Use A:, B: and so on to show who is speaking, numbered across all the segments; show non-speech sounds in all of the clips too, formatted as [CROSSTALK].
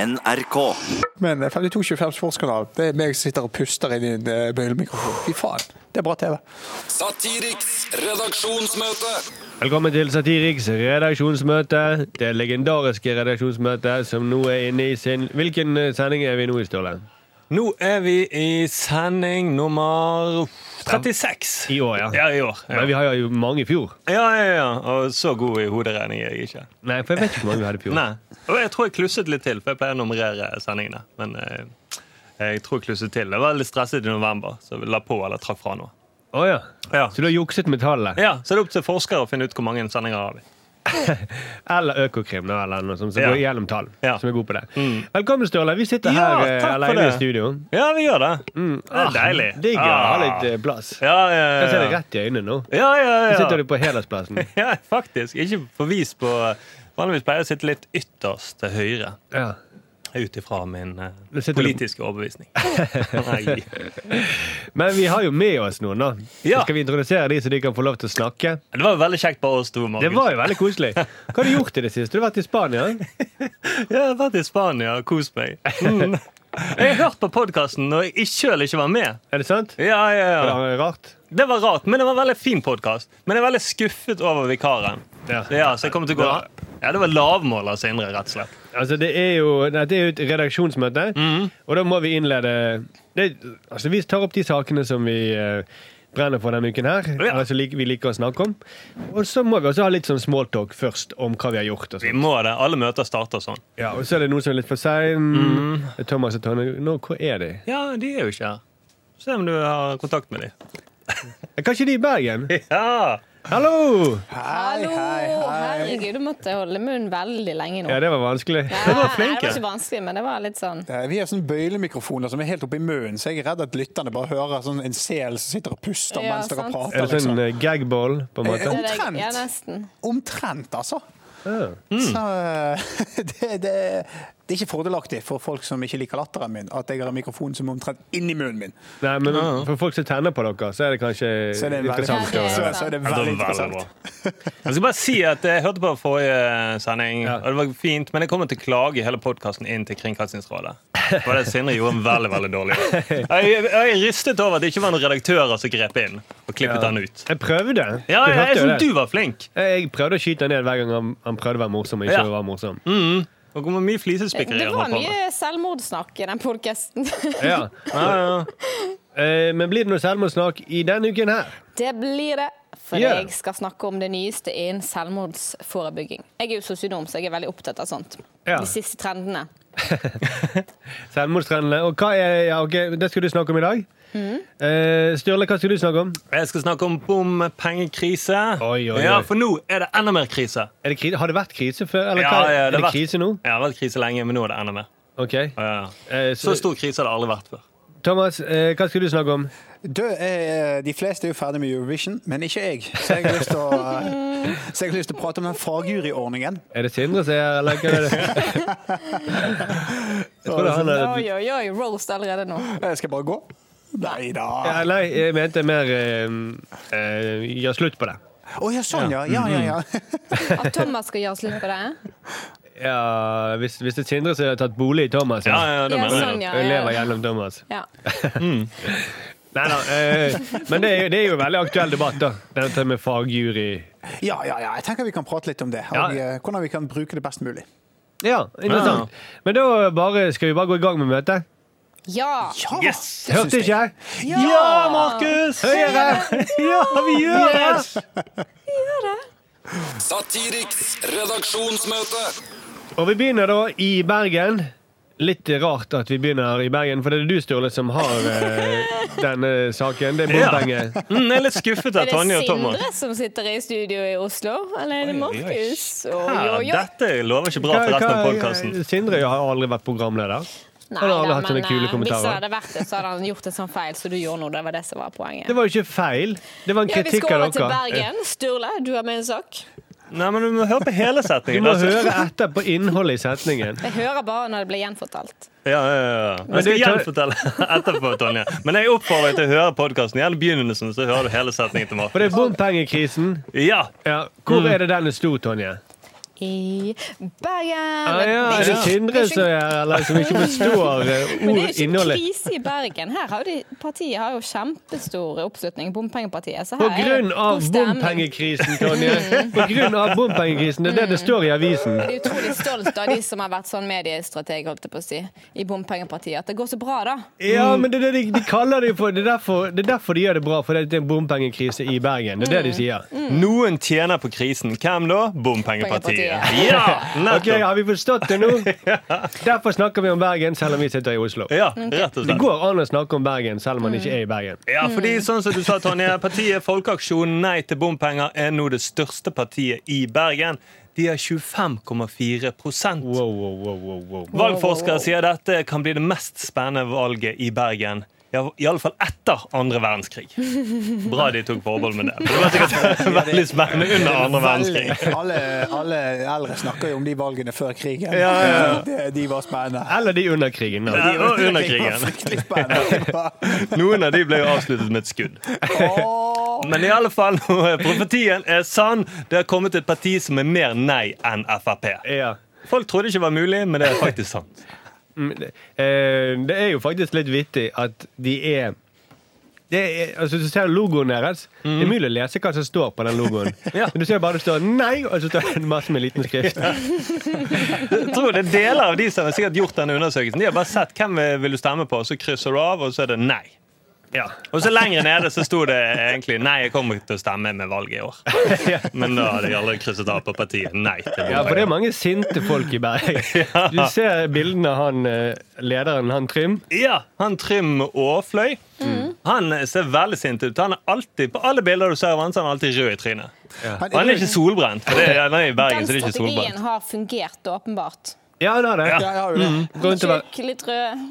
A: NRK.
B: Men eh, 5225 Sportskanal, det er meg som sitter og puster inn i en eh, bøylemikrofon. Fy faen, det er bra TV.
C: Satiriks redaksjonsmøte.
D: Velkommen til Satiriks redaksjonsmøte. Det legendariske redaksjonsmøtet som nå er inne i sin Hvilken eh, sending er vi nå i, Ståle?
E: Nå er vi i sending nummer 36.
D: I år, ja.
E: Ja, i år. Ja,
D: Men vi har jo mange i fjor.
E: ja, ja. ja. Og så god i hoderegning er jeg ikke.
D: Nei, for jeg vet ikke hvor mange vi hadde i fjor.
E: Nei. Og jeg tror jeg klusset litt til, for jeg pleier å nummerere sendingene. Men eh, jeg tror jeg klusset til. Jeg var litt stresset i november, så jeg la på eller trakk fra noe.
D: Å, ja.
E: Ja.
D: Så du har jukset med tallet?
E: Ja, Så det er opp til forskere å finne ut hvor mange sendinger har vi
D: Eller Økokrim, da, eller noe sånt, som
E: Ja.
D: går gjennom tall.
E: Ja.
D: Som er god på det. Velkommen, Ståle. Vi sitter
E: Ja,
D: her eh,
E: takk for
D: alene i
E: det.
D: studio.
E: Ja, vi gjør det. Det
D: Ah,
E: er deilig.
D: Digg å ha
E: Ah.
D: litt eh, plass.
E: Ja, ja,
D: Jeg ser
E: ja.
D: deg rett i øynene nå.
E: ja, ja, ja.
D: Nå sitter du på hedersplassen.
E: Ja, faktisk. Ikke forvis på Vanligvis pleier jeg å sitte litt ytterst til høyre.
D: Ja.
E: Ut ifra min eh,
D: Nå sitter du-
E: politiske overbevisning. Nei.
D: Men vi har jo med oss noen, da.
E: Ja.
D: Skal vi introdusere de så de kan få lov til å snakke?
E: Det var jo veldig kjekt bare oss to. Markus.
D: Det var jo veldig
E: [LAUGHS]
D: koselig. Hva har du gjort i det siste? Du har vært i Spania?
E: Ja, Jeg har vært i Spania og kost meg. Mm. Jeg har hørt på podkasten når jeg sjøl ikke var med.
D: Er det sant?
E: Ja, ja,
D: Var
E: ja.
D: det rart?
E: Det var rart, men det var en veldig fin podkast. Men jeg er veldig skuffet over vikaren.
D: Ja.
E: Ja, så jeg kommer til å gå Ja, Det var lavmåler Sindre, rett og slett.
D: Altså, det er jo dette er jo et redaksjonsmøte,
E: Mhm.
D: og da må vi innlede det, Altså, vi tar opp de sakene som vi eh, brenner for denne uken her.
E: Ja.
D: Altså, lik, vi liker å snakke om. Og så må vi også ha litt sånn smalltalk først om hva vi har gjort. Og,
E: Vi
D: sånt.
E: må det. Alle møter starter sånn.
D: ja, og så er det noen som er litt for sein.
E: Mhm.
D: Thomas og Tonje, nå, hvor er de?
E: Ja, de er jo ikke her. Se om du har kontakt med dem.
D: Er Kanskje de i Bergen?
E: Ja!
D: Hallo!
B: Hei,
F: Hallo!
B: hei, hei.
F: Herregud, du måtte holde munnen veldig lenge nå.
D: Ja, det var vanskelig.
F: Nei,
E: var
F: nei,
E: flinke.
F: det var ikke vanskelig, men det var litt sånn
B: Eh, Vi har sånne bøylemikrofoner som er helt oppi munnen, så jeg er redd at lytterne bare hører sånn en sel som sitter og puster
F: Ja,
B: mens dere
F: sant.
B: prater.
D: Er det sånn
B: liksom.
D: eh, gagball, på en
B: Eh,
D: måte?
F: det er-
B: Omtrent.
F: Ja, nesten.
B: Omtrent, altså.
D: Ja.
B: Så eh, [LAUGHS] det, det, det er ikke fordelaktig for folk som ikke liker latteren min, at jeg har en mikrofon som er omtrent inni munnen min.
D: Nei, men for folk som tenner på dere, så er det kanskje
B: Så er det veldig,
D: interessant. å
F: Ja, det er
B: så,
D: høre.
B: så er det
E: Ja, det var
B: veldig
E: veldig
B: interessant.
E: bra. Jeg skal bare si at jeg hørte på forrige sending,
D: Ja.
E: og det var fint, men jeg kommer til å klage hele podkasten inn til Kringkastingsrådet. Det var det Sindre gjorde en veldig veldig dårlig jobb. Jeg, jeg ristet over at det ikke var noen redaktører som grep inn og klippet han ut.
D: Jeg prøvde.
E: Ja,
D: Du hørte
E: jeg, jeg
D: jo
E: synes
D: det.
E: du var flink.
D: Jeg prøvde å skyte han ned hver gang han, han prøvde å være morsom. og ikke
E: Ja. Mm.
D: var morsom.
E: Og hvor mye flisespikkeri
F: Det
E: han
F: var
E: holdt på med.
F: mye selvmordssnakk i den podkasten.
D: Ja.
E: Ja, ja.
D: Eh, Men blir det noe selvmordssnakk i denne uken her?
F: [LAUGHS] Det blir det. For
D: Ja.
F: jeg skal snakke om det nyeste innen selvmordsforebygging. Jeg er jo sosionom, så jeg er veldig opptatt av sånt.
D: Ja.
F: De siste trendene.
D: Selvmordstrendene. Og hva er, ja, ok, det skal du snakke om i dag. Eh, Sturle, hva skal du snakke om?
E: Jeg skal snakke om bompengekrise.
D: Oi, oi, oi.
E: Ja, for nå er det enda mer krise.
D: Er det kri- har det vært krise før? Eller
E: Ja,
D: hva?
E: ja,
D: er det
E: har vært-
D: krise nå?
E: Ja, det har vært krise lenge, men nå er det enda mer.
D: Ok.
E: Ja.
D: Eh,
E: Så
D: så,
E: stor krise har det aldri vært før.
D: Thomas, eh, hva skal du snakke om?
B: Du, eh, de fleste er jo ferdig med Eurovision, men ikke jeg. Så jeg har lyst til å, eh,
E: [LAUGHS]
B: så jeg har lyst til å prate om den fagjuryordningen.
D: Er det Sindre som er her, eller hva
B: [LAUGHS]
D: er det? Jeg tror det er han er
F: Oi, oi, oi, roast allerede nå.
B: Jeg skal bare gå. Nei da.
D: Ja, nei, jeg mente mer eh, eh, gjør slutt på det.
B: Å ja, sånn ja. Ja, ja, ja.
E: Mm-hmm.
F: At Thomas skal gjøre slutt på det? eh?
D: Ja, hvis, hvis det er Sindre som har tatt bolig i Thomas,
E: Ja, ja, det
F: Ja,
E: mener
F: sånn,
E: jeg.
F: ja.
D: og lever gjennom Thomas.
F: ja.
D: Nei da. Eh, men det er, jo- det er jo en veldig aktuell debatt, da. Dette med fagjury.
B: [LAUGHS] ja, ja, ja. Jeg tenker vi kan prate litt om det.
D: Ja.
B: Og eh, hvordan vi kan bruke det best mulig.
D: Ja, interessant. Men da bare, skal vi bare gå i gang med møtet?
F: ja.
B: Ja,
E: Yes!
B: det syns
D: Hørte
B: jeg.
D: ikke jeg?
E: Ja, Markus!
D: Høyere!
E: Ja, vi gjør det!
C: Satiriks redaksjonsmøte.
D: Og vi begynner da i Bergen. Litt rart at vi begynner i Bergen, for det er du, Sturle, som har eh, denne saken. Det er
E: Ja.
D: bompenge.
E: Mm, jeg er litt skuffet
F: Er
E: av
F: det
E: Tonje og Thomas.
F: Sindre som sitter i studio i Oslo, eller er det
E: Oi, oi, oi.
F: Markus? Oi,
E: Ja,
F: oi, oi.
E: dette lover ikke bra for resten av podkasten.
D: Sindre har aldri vært programleder. Han har aldri
F: da,
D: hatt sånne
F: men,
D: kule
F: eh,
D: kommentarer.
F: Hvis det hadde vært det, så hadde han gjort en sånn feil som du gjorde nå. Det var det som var poenget.
D: Det var jo ikke feil. Det var en
F: ja, vi
D: kritikk
F: skal
D: av
F: over til
D: dere.
F: Bergen. Sturle, du har med en sak.
E: Nei, men Du må høre på hele
D: Du
E: setningen.
D: må
E: altså.
D: høre
E: [LAUGHS]
D: etter på innholdet i setningen.
F: Jeg hører bare når det blir gjenfortalt.
E: Ja, ja, ja.
D: Men det
E: Jeg skal
D: tar-
E: gjenfortelle [LAUGHS] etterpå, Tonje. Men jeg oppfordrer deg til å høre podkasten igjen i begynnelsen, så hører du hele setningen til
D: For
E: Markus.
D: det er bompengekrisen.
E: Ja,
D: Ja, hvor er det den er stor, Tonje?
F: i Bergen.
D: Ah, ja,
F: Men
D: er
F: det
D: det
F: er ikke- det
D: Sindre
F: er
D: som
F: ikke-
D: er her, eller som ikke forstår eh,
F: [LAUGHS] Men
D: ord,
F: det er jo ikke
D: innholdet?
F: krise i Bergen. Her har jo de, Partiet har jo kjempestor oppslutning, bompengepartiet. Så her
D: På
F: er det
D: grunn
F: god
D: av
F: stemning. Mm.
D: bompengekrisen,
F: [LAUGHS]
D: Tonje. På grunn av bompengekrisen. Det er det det står i avisen.
F: Jeg er utrolig stolt av de som har vært sånn mediestrateg holdt jeg på å si, i bompengepartiet. At det går så bra, da.
D: Ja, men det er det de, de kaller det for. Det er, derfor, det er derfor de gjør det bra, for det er en bompengekrise i Bergen. Det er
F: Mm.
D: det de sier.
E: Noen tjener på krisen. Hvem da? Bompengepartiet.
F: Bompengepartiet.
D: [LAUGHS]
E: Ja!
D: Ok,
E: Nettopp.
D: Har vi forstått det nå? Derfor snakker vi om Bergen, selv om vi sitter i Oslo.
E: Ja, rett og
D: Det
E: slett.
D: går an å snakke om Bergen selv om man ikke er i Bergen.
E: Ja, fordi sånn som du sa, Tonje, partiet Folkeaksjon Nei til bompenger er nå det største partiet i Bergen. De har 25,4
D: Wow, wow, wow, wow, wow.
E: Valgforskere sier dette kan bli det mest spennende valget i Bergen. Ja, Iallfall etter andre verdenskrig. Bra de tok forbehold med det. for Det var sikkert veldig spennende under andre verdenskrig.
B: Veldig. [LAUGHS] Alle, alle eldre snakker jo om de valgene før krigen. [LAUGHS] De, de var spennende.
D: Eller de under krigen. da.
E: Ja, og under
B: Det var
E: krigen.
B: fryktelig spennende.
E: [LAUGHS] Noen av de ble jo avsluttet med et skudd.
B: Åh.
E: Men i alle fall, [LAUGHS] profetien er sann. Det har kommet et parti som er mer nei enn Frp.
D: Ja.
E: Folk trodde ikke det var mulig, men det er faktisk sant.
D: Mm, det- eh, Det er jo faktisk litt vittig at de er det er, altså Du ser logoen deres. Det er mulig å lese hva som står på den logoen.
E: Ja.
D: Men du ser bare det står 'nei', og så står det masse med liten skrift.
E: Jeg tror det er Deler av de som har sikkert gjort denne undersøkelsen, De har bare sett hvem vil du stemme på, og så krysser du av, og så er det nei.
D: Ja.
E: Og så lenger nede så sto det egentlig Nei, jeg kommer ikke til å stemme med valget i
D: [LAUGHS]
E: år. Men da hadde jeg aldri krysset av på partiet nei til
D: Ja, for det er
E: bompenger.
D: mange sinte folk i Bergen. Du ser bildene av han eh, lederen, han Trym.
E: Ja, han Trym Aafløy.
F: Mm.
E: Han ser veldig sint ut. Han er alltid, På alle bilder du ser av han, så er han alltid rød i trynet. Og han er ikke solbrent. For det er, han er i Bergen,
F: Den
E: så det er ikke
F: strategien
E: solbrent.
F: har fungert, åpenbart.
D: Ja, det er det.
B: Ja, jeg har jo det.
E: Mm.
D: Gå rundt og være
F: Tjukk, litt rød.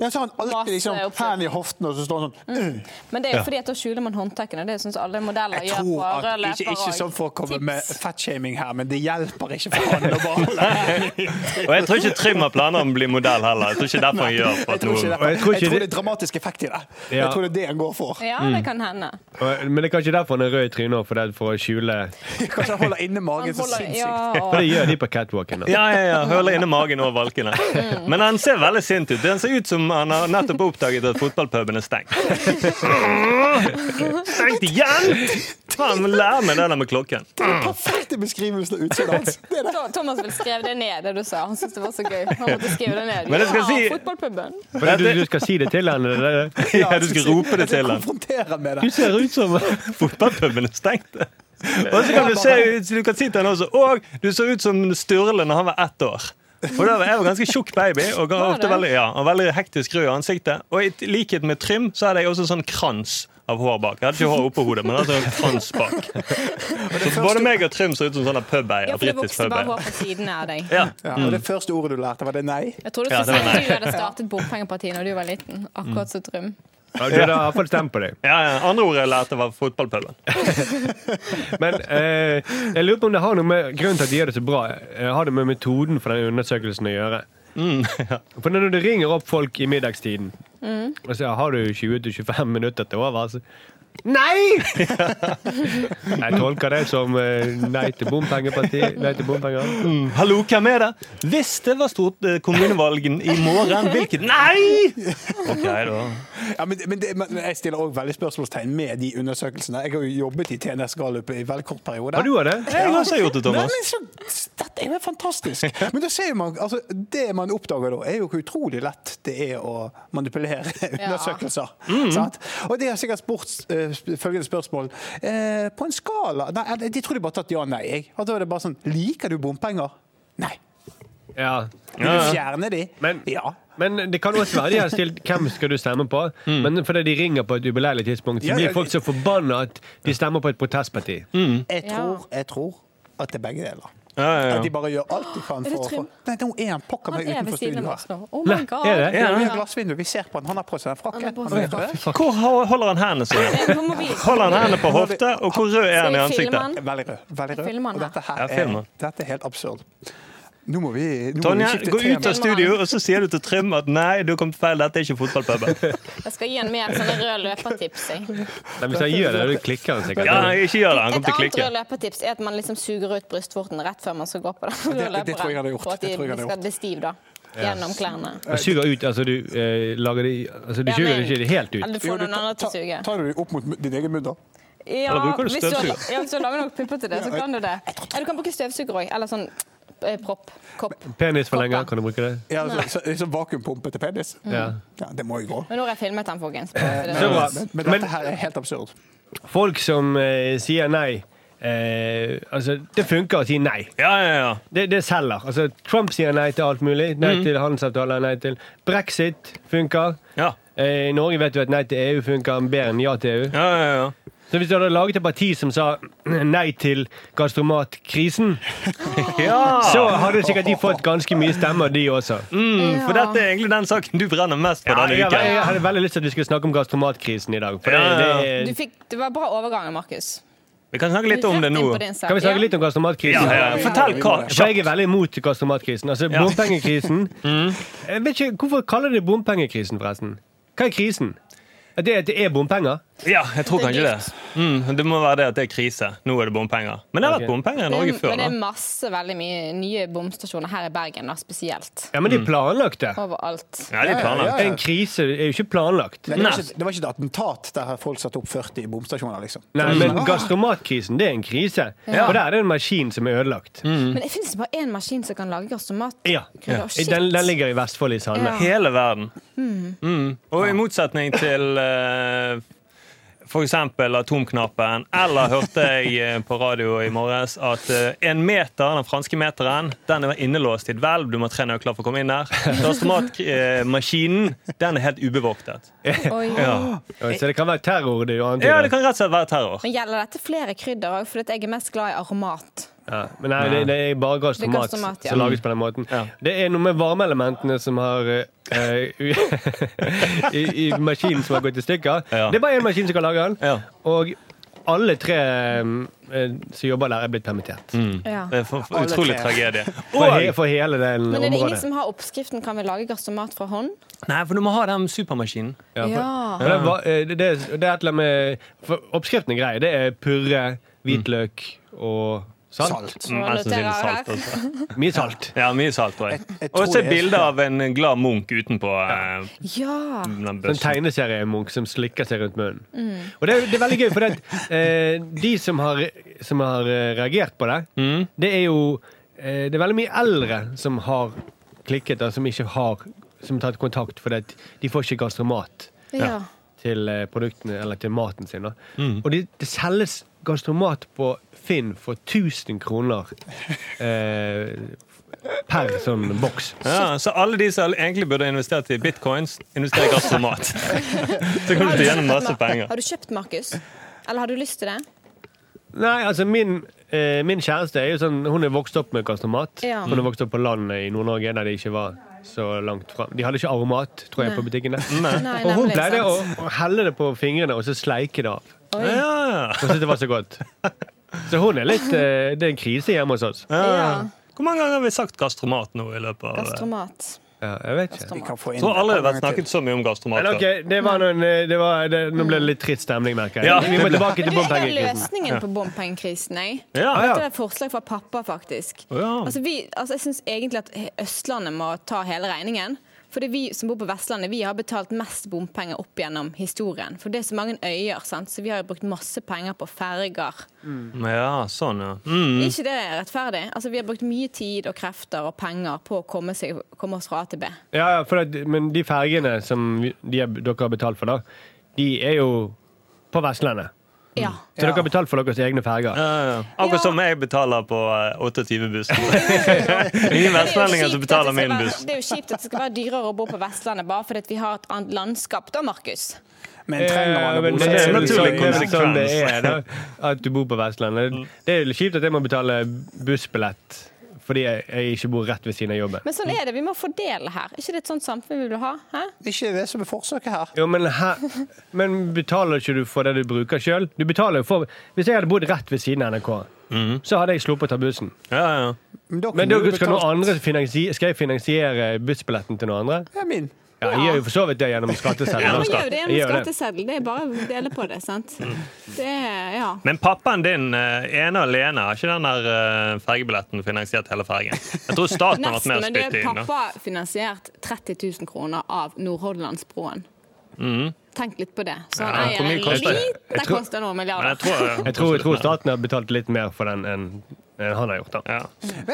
B: Ja, så har han alltid liksom
F: Masse oppsett.
B: hendene i hoften, og så står han sånn «Øh».
F: Men det er jo fordi at da skjuler man håndtakene. Det er jo sånn som alle modeller
B: Jeg
F: gjør på
B: tror at
F: rød
B: ikke,
F: løper
B: ikke
F: og
B: sånn for å komme
F: tips.
B: med fatshaming her, men det hjelper ikke for han å bare holde
E: Og jeg tror ikke Trym har planer om å bli modell heller. Jeg tror ikke derfor han gjør for
B: Jeg
E: at
B: tror, ikke det,
E: noen
D: Og jeg tror ikke
B: jeg tror
D: det-
B: det er dramatisk effekt i det.
D: Ja.
B: Jeg tror det er det han går for.
F: Ja, det kan hende.
D: Og- Men det er kanskje derfor han er rød i trynet også, for det er for å skjule
B: Kanskje han holder inne
F: Han
B: magen så
F: holder, ja,
B: sinnssykt.
D: For [LAUGHS]
F: og
D: det gjør de på catwalken. da.
E: Ja, ja, ja. Høler inni magen og valkene. Men han ser veldig sint ut. Han ser ut som han har nettopp oppdaget at fotballpuben er stengt. Stengt igjen! Faen, lær meg det der med klokken.
B: Det er den perfekte beskrivelsen av utseendet hans. Det er det.
F: To- Thomas vil skrive det ned, det du sa. Han syntes det var så gøy. Han måtte skrive det ned.
E: Men jeg skal
F: ja,
E: si-
F: fotballpuben.
D: For du, du skal si det til henne. Det er det.
E: Ja, du skal rope det til
B: han.
E: han.
B: Konfrontere han med
D: Du
B: det.
D: ser ut
E: [LAUGHS]
D: som
E: Fotballpuben er stengt. Og så kan du se ut, du kan si til han også Og du så ut som Sturle når han var ett år. For da var jeg var ganske tjukk baby og ga
F: Var
E: ofte
F: det?
E: veldig, ja, og veldig hektisk rød i ansiktet. Og i likhet med Trym så hadde jeg også sånn krans av hår bak. Jeg hadde ikke hår oppå hodet, men altså en krans
F: [LAUGHS]
E: bak. Så både meg og Trym så ut som sånne pubeier.
F: Ja, for det
E: Britisk
F: vokste bare
E: pubeier.
F: hår på siden av deg.
E: Ja.
B: Ja, og det første ordet du lærte, var det nei?
F: Jeg trodde du
E: Ja,
F: skulle
E: det var
F: si at du hadde startet bompengepartiet når du var liten. Akkurat som Trym.
D: ja, Du har i hvert fall stemt på deg.
E: Ja, ja. Andre ordet jeg lærte, var fotballpuben.
D: Men eh, jeg lurer på om det har noe med grunnen til at de gjør det så bra, eh, har det med metoden for den undersøkelsen å gjøre. For når det ringer opp folk i middagstiden og sier har du 20-25 minutter til over, så Nei! Jeg tolker det som eh, nei til bompengeparti. Nei til bompenger.
E: Hallo, hvem er det? Hvis det var stort eh, kommunevalgen i morgen, hvilket Nei! Ok, da.
B: Ja, men, men, det, men jeg stiller òg veldig spørsmålstegn med de undersøkelsene. Jeg har jo jobbet i TNS Gallup i veldig kort periode.
D: Har du hatt det?
E: Jeg har også gjort det, Thomas.
B: Nei, men så, dette er jo
E: [LAUGHS]
B: fantastisk. Men da ser man, altså, det man oppdager da, er jo hvor utrolig lett det er å manipulere [LAUGHS] undersøkelser.
E: Mhm.
B: sant? Og de har sikkert spurt eh, sp- følgende spørsmål. Eh, på en skala Nei, eller de tror de bare har tatt ja nei. Jeg. Og da er det bare sånn Liker du bompenger? Nei.
D: Ja.
B: Vil du fjerne de?
D: Men-
B: ja.
D: Men det kan også være de har stilt hvem skal du stemme på. Men fordi de ringer på et ubeleilig tidspunkt, så
B: Ja, ja,
D: blir folk så forbanna at de stemmer på et protestparti.
B: Jeg
F: Ja.
B: tror, jeg tror at det er begge deler.
E: Ja, ja,
B: At de
E: ja.
B: bare gjør alt de kan
F: Er det
B: for å få
F: Trym?
B: Nei, nå er han pokker meg
F: Han er ved
B: utenfor
F: siden av
B: studioet.
F: oss nå. Oh
D: Nei,
F: my god.
D: er det?
B: Ja, vi har
F: Ja.
B: glassvindu. Vi ser på han. Han har på seg en frakke.
F: Han har på
B: Han
F: seg
B: er
F: en frakke.
B: rød.
E: Hvor ho- holder han hendene sine?
F: Nei, nå må vi-
E: Holder han hendene på hofta, og hvor rød er han i
F: Skal jeg
E: ansiktet?
F: filme han?
B: Veldig rød. Veldig rød.
F: Filmer han,
B: Og dette, her
E: Ja,
B: er,
E: filmer.
B: dette er helt absurd. Nå må vi, nå må vi
E: Tonje,
B: skifte
E: gå ut av
F: tema.
E: studio, og så sier du til Trym at nei, du kom feil, dette er ikke fotballpuben.
F: Jeg skal gi en mer sånne rød løpertips. Jeg.
D: Nei, hvis jeg gjør det, da klikker han sikkert.
E: Ja, ikke gjør det. Han
F: Et
E: kommer til å
F: annet
E: klikke.
F: rød løpertips er at man liksom suger ut brystvorten rett før man skal gå på [LAUGHS] den.
B: det
F: røde
B: tror jeg han har gjort.
F: løperen, For at
B: Det
F: de
B: tror jeg han har
F: skal bli stiv da. Gjennom klærne.
D: Du suger ut, altså du eh, lager det i- altså, Du
F: Ja,
D: suger
F: men-
D: det ikke helt ut.
F: Eller du
B: Jo,
F: får
B: du
F: noen andre
B: ta-
F: til å suge.
B: ta- Tar du det opp mot din egen munn, da?
F: Ja,
E: Eller bruker du
F: hvis du, har-
E: støvsuger?
F: ja, hvis du har laget nok pupper til det, så kan du det. Ja, du kan bruke støvsuger òg. Eller sånn eh, propp. Kopp.
D: Penisforlenger, kan du bruke det?
B: Ja, altså, så, så, så vakuumpumpe til penis?
F: Mm.
D: Ja.
B: Ja, det må jo gå.
F: Men nå har jeg filmet den, folkens.
B: Eh,
F: bare så det-
D: Så bra.
B: Men, men
D: Men-
B: dette her er helt absurd.
D: Folk som eh, sier nei eh, Altså, det funker å si nei.
E: Ja, ja, ja.
D: Det, det selger. Altså, Trump sier nei til alt mulig. Nei til handelsavtaler, nei til Brexit funker.
E: Ja.
D: Eh, I Norge vet du at nei til EU funker bedre enn ja til EU.
E: Ja, ja, ja.
D: Så hvis du hadde laget et parti som sa nei til gastromatkrisen, så hadde sikkert de fått ganske mye stemmer, de også.
E: Mm, for dette er egentlig den saken du brenner mest på
D: Ja,
E: denne
D: jeg,
E: uken.
D: jeg hadde veldig lyst til at vi skulle snakke om gastromatkrisen i dag. For det,
E: Ja, ja, ja.
D: det,
F: Du fikk, det var bra overgang, Markus.
E: Vi kan snakke litt om
F: Rett
E: det
F: inn
E: nå.
F: på din sak.
D: kan vi
F: Ja.
D: snakke litt om
E: Ja,
D: gastromatkrisen?
E: ja, ja. Fortell hva.
D: For jeg er veldig imot gastromatkrisen. Altså
E: Ja. [LAUGHS]
D: bompengekrisen. Mm. Jeg vet ikke, Hvorfor kaller de det bompengekrisen, forresten? Hva er krisen? At det, at det er bompenger?
E: Ja, jeg tror
F: Det er
E: kanskje det. Mm, det må være det at det er krise. Nå er det bompenger. Men det har
D: Ok.
E: vært bompenger i Norge
F: Men-
E: før.
F: Men det er
E: da.
F: masse veldig mye nye bomstasjoner her i Bergen, da, spesielt.
D: Ja,
E: Mm.
D: men de planlagte.
F: Overalt.
E: Ja, de planlagt.
B: Ja, ja.
D: En krise er jo ikke planlagt.
B: Nei, det, var
E: Nei.
B: ikke, det var ikke et attentat der folk satte opp 40 bomstasjoner, liksom.
D: Nei, men gastromatkrisen, det er en krise.
E: Mm. Ah. Ja. Mm.
D: For der er det en maskin som er ødelagt.
F: Men det finnes bare én maskin som kan lage gastromat.
E: [LAUGHS]
D: Ja.
F: Ja.
D: Den, den ligger i Vestfold, i Sande.
F: Ja.
E: Hele verden. Mm. Og i motsetning til eh, for eksempel atomknappen, eller hørte jeg eh, på radio i morges at eh, en meter, den franske meteren, den er innelåst i et hvelv. Du må ha tre nøkler for å komme inn der. Automatmaskinen, den er helt ubevoktet.
F: Oi.
D: Ja, Så det kan være terror. Det er jo annet.
E: Ja, det kan rett og slett være terror.
F: Men gjelder dette flere krydder òg, for jeg er mest glad i aromat.
D: Ja, men nei, det, det er bare gastromat
F: Det er gastromat, ja.
D: som lages på den måten.
E: Ja.
D: Det er noe med varmeelementene som har eh, [LAUGHS] u- i, I maskinen som har gått i stykker.
E: Ja.
D: Det er bare én maskin som kan lage den.
E: Ja.
D: Og alle tre eh, som jobber der, er blitt permittert.
F: Ja.
E: Det er Eh, for, for
B: Alle
E: utrolig
B: tre.
E: tragedie.
D: For,
E: Mm. Og,
D: he, for hele det
F: Men er det ingen
D: området.
F: som har oppskriften 'Kan vi lage gastromat fra hånd'?
E: nei, for du må ha den supermaskinen.
D: Ja, for,
F: Ja.
D: for det, var- eh, det, det er et eller annet med for Oppskriften er grei. Det er purre, hvitløk og salt.
B: Salt.
E: Mm,
F: Nå
E: jeg synes det er
F: noterer jeg
E: salt
F: her.
E: også.
D: Mye salt.
E: [LAUGHS] Ja, mye salt på
B: Jeg- jeg
E: det.
B: tror
E: Og så
B: det er-
E: bilde av en glad munk utenpå eh,
F: Ja.
E: den
D: Sånn
E: bøssen.
D: tegneseriemunk som slikker seg rundt munnen. Og det er, det er veldig gøy, for det, at, eh, de som har, som har eh, reagert på det, det er jo eh, Det er veldig mye eldre som har klikket, og som ikke har som har tatt kontakt, fordi at de får ikke gastromat
F: ja.
D: til eh, produktene eller til maten sin. Da. Og det, det selges gastromat på Finn for 1000 kroner eh, per sånn boks.
E: Ja, så alle de som egentlig burde investert i bitcoins, investerer
B: [LAUGHS]
E: i gastromat. så kan du få igjen masse penger.
F: Har du kjøpt, Markus? Eller har du lyst til det?
D: Nei, altså min, eh, min kjæreste er jo sånn, hun er vokst opp med kastomat.
F: Ja.
D: Hun er vokst opp på landet i Nord-Norge, der det ikke var så langt fram. De hadde ikke aromat, tror jeg,
F: Nei.
D: på butikkene.
F: Nei,
D: [LAUGHS] Og hun
F: nemlig,
D: pleide å,
F: sant.
D: å helle det på fingrene og så sleike det av.
E: Ja, ja,
D: Hun syntes det var så
F: [LAUGHS]
D: godt. Så hun er litt eh, Det er en krise hjemme hos oss.
E: ja.
F: Ja.
E: Hvor mange ganger har vi sagt gastromat nå i løpet av eh?
F: Gastromat.
D: Ja, jeg vet ikke.
B: Vi kan få inn
E: Jeg tror alle har
B: en gang
E: vært snakket så mye om gastromat.
D: Men ok, det var noen, eh, det var, det, Nå ble det litt trist stemning, merker jeg.
E: Ja,
D: Vi må
E: det ble-
F: [LAUGHS]
D: tilbake
F: Men
D: til
F: du, jeg har
D: bompengekrisen.
F: løsningen på bompengekrisen, jeg.
E: før. Ja,
D: ja.
F: Dette er et forslag fra pappa, faktisk.
E: ja.
F: Altså, vi, altså, jeg syns egentlig at Østlandet må ta hele regningen. Fordi vi som bor på Vestlandet, vi har betalt mest bompenger opp gjennom historien. For det er så mange øyer, sant? så vi har jo brukt masse penger på ferger.
E: ja sånn, ja. Mm.
F: Er ikke det rettferdig? Altså, vi har brukt mye tid og krefter og penger på å komme, seg, komme oss fra A til B.
E: Mm.
D: Ja, ja, for at, men de fergene som vi- de, er- dere har betalt for, da, de er jo på Vestlandet.
F: Ja.
D: Så dere har betalt for deres egne ferger.
E: Ja, ja. Akkurat
F: Ja.
E: som jeg betaler på eh, [LAUGHS] 28-bussen. Ingen
F: Men det er jo
E: vestlendinger
F: kjipt
E: som
F: at
E: betaler
F: det skal
E: min
F: være-
E: buss.
F: Det er jo kjipt at det skal være dyrere å bo på Vestlandet bare fordi at vi har et annet landskap da, Markus.
B: Men trenger man
D: Ja,
B: å
D: Eh, men det
B: bosette
D: er jo
E: en
B: seg i
E: naturlig
D: sånn- det
B: Sverige?
D: er vel sånn det
E: konsekvens.
D: er, da, [LAUGHS] at du bor på Vestlandet. Det er jo litt kjipt at jeg må betale bussbillett fordi jeg, jeg ikke bor rett ved siden av jobben.
F: Men sånn er det. Vi må fordele her. Er ikke det et sånt samfunn vi vil ha? Hæ?
B: Ikke det som er forsøket her.
D: Jo, men, hæ? men betaler ikke du for det du bruker sjøl? Du betaler jo for Hvis jeg hadde bodd rett ved siden av NRK, så hadde jeg sluppet å ta bussen.
E: Ja, ja.
B: Men da kan
D: Men
B: du
D: da
B: jo
D: skal, noen
B: betale-
D: andre finansiere, skal jeg finansiere bussbilletten til noen andre?
B: Ja, min.
D: Ja, jeg gjør jo for så vidt det gjennom skatteseddelen.
F: Ja,
D: også.
F: man gjør jo det
D: Jeg
F: gjennom skatteseddel. Det er bare å dele på det, sant. Det er, ja.
E: Men pappaen din eh, ene og alene har ikke den der eh, fergebilletten finansiert hele fergen. Jeg tror staten har vært
F: Nesten,
E: med og
F: men det er
E: spyttet inn. da.
F: pappa finansiert 30 000 kroner av Nordhordlandsbroen. Tenk litt på det. Så han
E: Ja, hvor
F: eier
E: mye
F: en
E: koster det?
F: liten
D: Jeg
F: Det
D: tror-
F: koster noen
E: Men jeg
F: milliarder.
E: tror, eh,
B: [LAUGHS]
D: Jeg tror, jeg tror staten har betalt litt mer for den enn enn han har gjort. da.
E: Ja.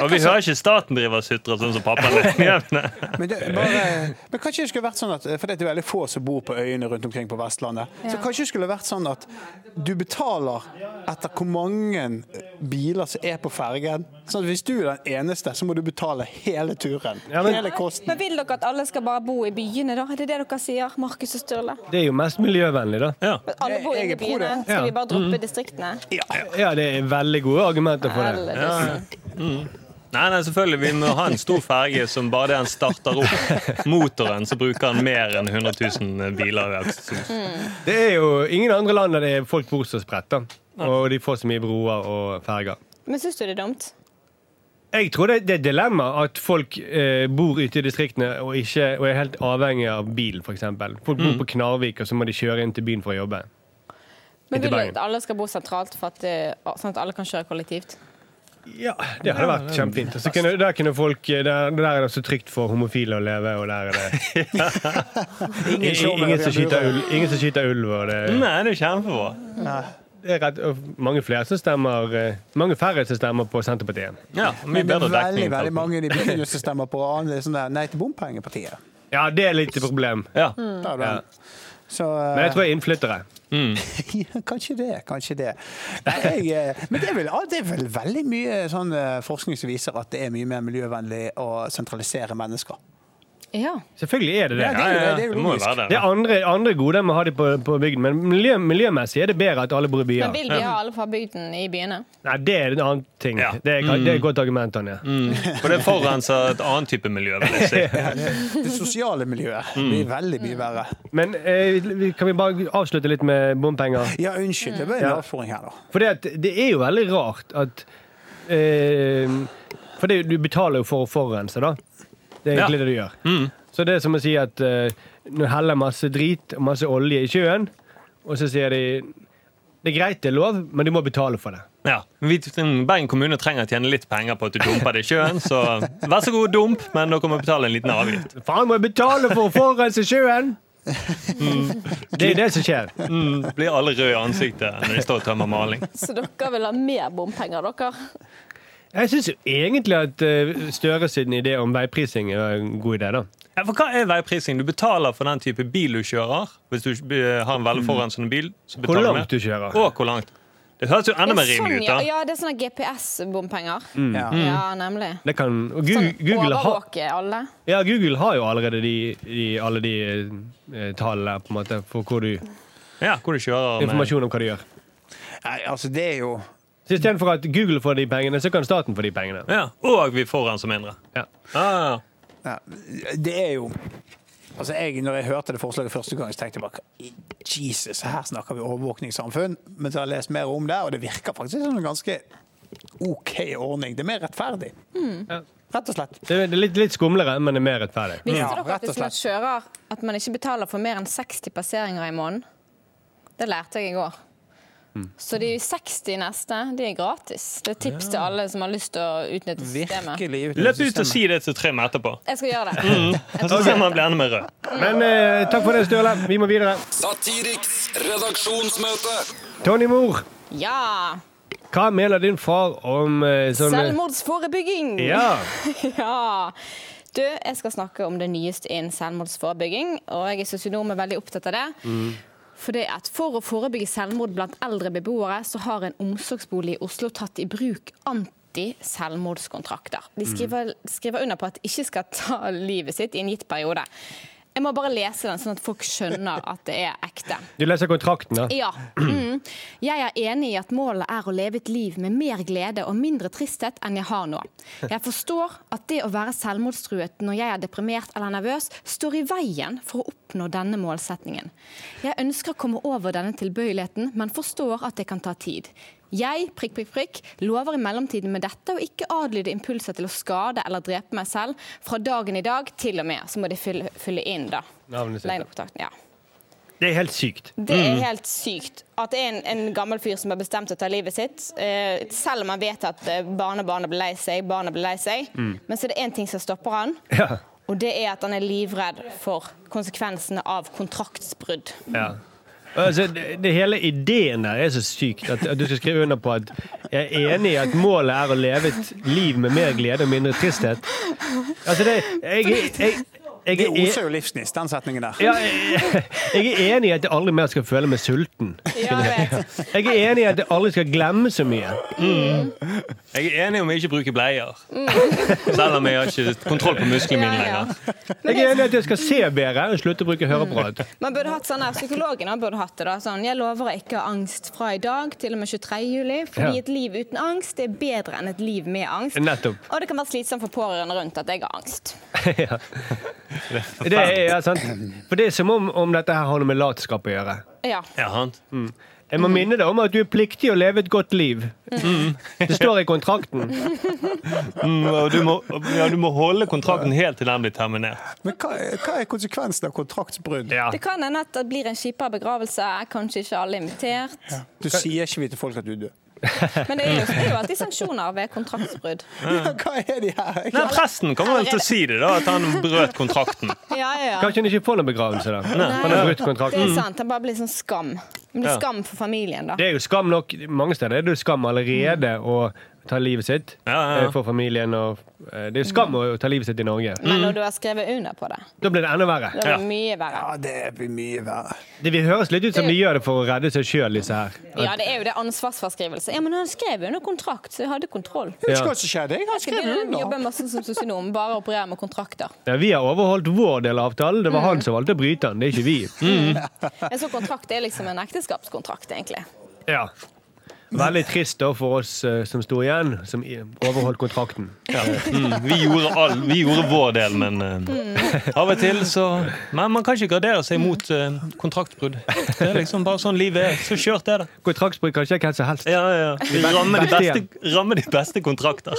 E: Og vi hører ikke staten driver og sutrer sånn som pappaen din.
F: [LAUGHS]
B: Men,
D: Eh.
B: det, bare, men kanskje det skulle vært sånn at For det er veldig få som bor på øyene rundt omkring på Vestlandet. Så
F: Ja.
B: kanskje det skulle vært sånn at du betaler etter hvor mange biler som er på fergen. Sånn at hvis du er den eneste, så må du betale hele turen.
D: Ja, men-
B: hele kosten.
A: Men vil dere at alle skal bare bo i byene, da? Er det det dere sier, Markus og Sturle?
D: Det er jo mest miljøvennlig, da.
E: Ja.
A: At alle
B: Jeg-
A: bor
B: jeg
A: inne
B: er
A: i byene?
B: pro det.
D: Ja.
A: Skal vi bare droppe distriktene?
D: Ja, det er veldig gode argumenter for det.
A: Eller disse?
E: Nei, nei, selvfølgelig. Vi må ha en stor ferge som bare det han starter opp motoren, så bruker han mer enn 100 000 biler. i Akershus.
F: Mm.
D: Det er jo ingen andre land der det er folk bor så spredt, da. Og de får så mye broer og ferger.
A: Men syns du det er dumt?
D: Jeg tror det, det er et dilemma at folk eh, bor ute i distriktene og, ikke, og er helt avhengig av bil, f.eks. Folk bor på Knarvik, og så må de kjøre inn til byen for å jobbe.
F: Men vil du
D: Bergen.
F: at alle skal bo sentralt, for at, eh, sånn at alle kan kjøre kollektivt?
D: Ja, Det hadde vært kjempefint. Så kunne, der, kunne folk, eh, der, der er det så trygt for homofile å leve, og der er [LAUGHS] det ingen, ingen, som skyter ulv, ingen som skyter ulv. Og det,
E: Nei, det er kjempebra.
D: det er rett, og mange flere som stemmer eh, Mange færre som stemmer på Senterpartiet.
E: Ja,
B: Men
E: mye
B: det
E: bedre
B: er veldig
E: dekning.
B: veldig mange i de byene som stemmer på annerledes sånn der, nei til bompengepartiet.
D: Ja, det er litt et problem.
E: Ja.
B: Da er det
D: Ja.
B: Så, eh,
D: Men jeg tror jeg er innflyttere.
B: [LAUGHS] Ja, kanskje det, kanskje det. Nei, jeg, eh, men det er, vel, det er vel veldig mye sånn eh, forskning som viser at det er mye mer miljøvennlig å sentralisere mennesker.
F: Ja.
D: Selvfølgelig er det det.
B: Ja,
E: Ja,
B: det er jo
E: ja,
B: det, det er jo
E: det må jo
B: logisk.
E: være
D: Det
E: det.
D: er andre, andre goder med å ha det på, på bygden, men miljø, miljømessig er det bedre at alle bor i
F: Men
D: byer.
F: vil vi ha alle fra bygden i byene?
D: Nei, det er en annen ting.
E: Ja.
D: Det, er, det er et godt argument, Tonje.
E: For det forurenser et annet type miljø, vil jeg si.
B: Det sosiale miljøet blir veldig mye verre.
D: Men eh, vi- kan vi bare avslutte litt med bompenger?
B: Ja, unnskyld. Det ble en avsporing her, da.
D: For det, at, det er jo veldig rart at eh, For det, du betaler jo for å forurense, da. Det er egentlig det du gjør. Så det er som å si at eh, du heller masse drit og masse olje i sjøen, og så sier de det er greit, det er lov, men du må betale for det.
E: Ja. Vi, Bergen kommune trenger å tjene litt penger på at du dumper det i sjøen, så vær så god, dump, men dere må betale en liten avgift.
D: Faen, må jeg betale for å forurense sjøen?! Det er det som skjer.
E: Mm, blir alle røde i ansiktet når de står og tømmer maling.
A: Så dere vil ha mer bompenger, dere?
D: Jeg syns egentlig at eh, Støre sin idé om veiprising er en god idé, da.
E: Ja, for hva er veiprising? Du betaler for den type bil du kjører. Hvis du eh, har en veldig forurensende bil, så
D: Hvor
E: betaler du
D: langt du kjører.
E: Og hvor langt. Det høres jo enda mer
F: sånn,
E: rimelig ut,
F: ja,
E: da. Mm.
F: ja, det er sånne GPS-bompenger.
B: Ja.
F: Ja, nemlig.
D: Det kan, og Google,
F: Sånn
D: Google, har,
F: overvåke alle.
D: ja, Google har jo allerede de, de, alle de eh, tallene på en måte, for hvor du,
E: Ja, hvor du kjører med.
D: informasjon om hva du gjør.
B: Nei, altså, det er jo
D: Så Istedenfor at Google får de pengene, så kan staten få de pengene.
E: Ja, og vi forurenser mindre.
D: Ja.
E: Ja, ja, ja.
B: ja, Det er jo Altså, jeg, når jeg hørte det forslaget første gang, så tenkte jeg bare Jesus, her snakker vi overvåkningssamfunn. Men så har jeg lest mer om det, og det virker faktisk som en ganske OK ordning. Det er mer rettferdig. Rett og slett.
D: Det er det er litt, litt skumlere, men det er mer rettferdig.
F: Visste
B: Ja,
F: dere
B: rett
F: at
B: og
F: hvis man kjører at man ikke betaler for mer enn 60 passeringer i måneden? Det lærte jeg i går.
E: Mm.
F: Så de 60 neste, de er gratis. Det er tips til alle som har lyst til å utnytte systemet.
B: Virkelig. uten
E: Løp ut
B: systemet.
E: og si det til Trym etterpå. Mm.
F: Jeg skal gjøre det. [LAUGHS]
E: Så ser man blir enda mer rød.
D: Men eh, takk for det, Sturle. Vi må videre.
C: Satiriks redaksjonsmøte.
D: Tony Moore,
F: Ja!
D: hva mener din far om eh, sånn eh,
F: Selvmordsforebygging!
D: Ja.
F: [LAUGHS] Ja. Du, jeg skal snakke om det nyeste innen selvmordsforebygging, og jeg er sosionom og er veldig opptatt av det. Fordi at For å forebygge selvmord blant eldre beboere, så har en omsorgsbolig i Oslo tatt i bruk anti-selvmordskontrakter. De skriver, skriver under på at de ikke skal ta livet sitt i en gitt periode. Jeg må bare lese den, sånn at folk skjønner at det er ekte.
D: Du leser kontrakten, da.
F: Ja. Mm. Jeg er enig i at målet er å leve et liv med mer glede og mindre tristhet enn jeg har nå. Jeg forstår at det å være selvmordstruet når jeg er deprimert eller nervøs, står i veien for å oppnå denne målsetningen. Jeg ønsker å komme over denne tilbøyeligheten, men forstår at det kan ta tid. Jeg prikk, prikk, prikk, lover i mellomtiden med dette å ikke adlyde impulser til å skade eller drepe meg selv fra dagen i dag til og med. Så må de fylle, fylle inn, da.
D: Navnet sitt.
F: Lengdeopptakten. Ja.
D: Det er helt sykt.
F: Det er helt sykt at det er en, en gammel fyr som har bestemt å ta livet sitt. eh, selv om han vet at eh, barnebarnet blir lei seg, barna blir lei seg. Men så er det én ting som stopper han,
D: Ja.
F: og det er at han er livredd for konsekvensene av kontraktsbrudd.
D: Ja. Altså, det, det hele ideen der er så sykt. At, at du skal skrive under på at jeg er enig i at målet er å leve et liv med mer glede og mindre tristhet. Altså, det Jeg, jeg, jeg, jeg,
B: Det
D: er-
B: oser jo livsgnist, den setningen der.
D: ja, jeg, jeg er enig i at jeg aldri mer skal føle meg sulten.
F: Ja, jeg vet.
D: Jeg er enig i at jeg aldri skal glemme så mye.
E: Jeg er enig om jeg ikke bruker bleier. Selv om jeg har ikke kontroll på musklene mine
F: Ja, ja.
E: lenger.
D: Jeg er enig i at jeg skal se bedre og slutte å bruke høreapparat.
F: Man burde hatt sånn her, Psykologen han burde hatt det. da, sånn, Jeg lover å ikke ha angst fra i dag til og med 23. juli, fordi
D: Ja.
F: et liv uten angst er bedre enn et liv med angst.
D: Nettopp. [LAUGHS]
F: Og det kan være slitsomt for pårørende rundt at jeg har angst.
D: ja. Det er, ja, sant? For det er som om, om dette her har noe med latskap å gjøre.
F: Ja.
E: Ja, sant?
D: Jeg må minne deg om at du er pliktig å leve et godt liv. Det står i kontrakten.
E: Mm, og du, må, ja, du må holde kontrakten helt til den blir terminert.
B: Men hva, hva er konsekvensen av kontraktsbrudd?
D: Ja.
F: Det kan hende at det blir en kjipere begravelse. Kanskje ikke alle er invitert.
B: Du sier ikke vi til folk at du er død.
F: Men det er jo, det er jo alltid sanksjoner ved kontraktsbrudd.
B: Ja, hva er de her?
E: Nei, Presten kommer vel til å si det, da, at han brøt kontrakten.
F: Ja, ja, ja.
D: Kanskje hun ikke får noen begravelse, da. Han har brutt
F: Det
D: kontrakten.
F: er sant. Det bare blir sånn skam. Det blir
E: Ja.
F: skam for familien, da.
D: Det er jo skam nok. Mange steder er det jo skam allerede å ta livet sitt
E: Ja, ja, ja.
D: eh, for familien. Og, eh, det er jo skam å ta livet sitt i Norge.
F: Men når du har skrevet under på det,
D: Da blir det enda verre.
F: da er det mye verre.
B: Ja, det blir mye verre.
D: Det vil høres litt ut som de gjør det for å redde seg sjøl, disse her.
F: Ja, det er jo det ansvarsfraskrivelse. Ja, men han skrev jo under kontrakt, så jeg hadde kontroll.
B: Jeg vet
D: Ja.
B: ikke hva som skjedde. Jeg har
F: Jeg skal
B: skrevet
F: begynne å jobbe
B: under.
F: masse som sosionom, bare operere med kontrakter.
D: Ja, vi har overholdt vår del av avtalen. Det var
F: Mm.
D: han som valgte å bryte den, det er ikke vi.
F: En sånn kontrakt er liksom en ekteskapskontrakt, egentlig.
D: Ja. Veldig trist da for oss eh, som sto igjen, som i- overholdt kontrakten.
E: Ja. Mm, vi, gjorde all, vi gjorde vår del, men
F: Mm.
E: eh, av og til så Men man kan ikke gardere seg mot eh, kontraktbrudd. Det er liksom bare sånn livet er. Så kjørt er det.
D: Kontraktsbrudd kan skje hvem som helst.
E: Ja, ja. Vi rammer de
D: beste
E: beste, rammer de beste kontrakter.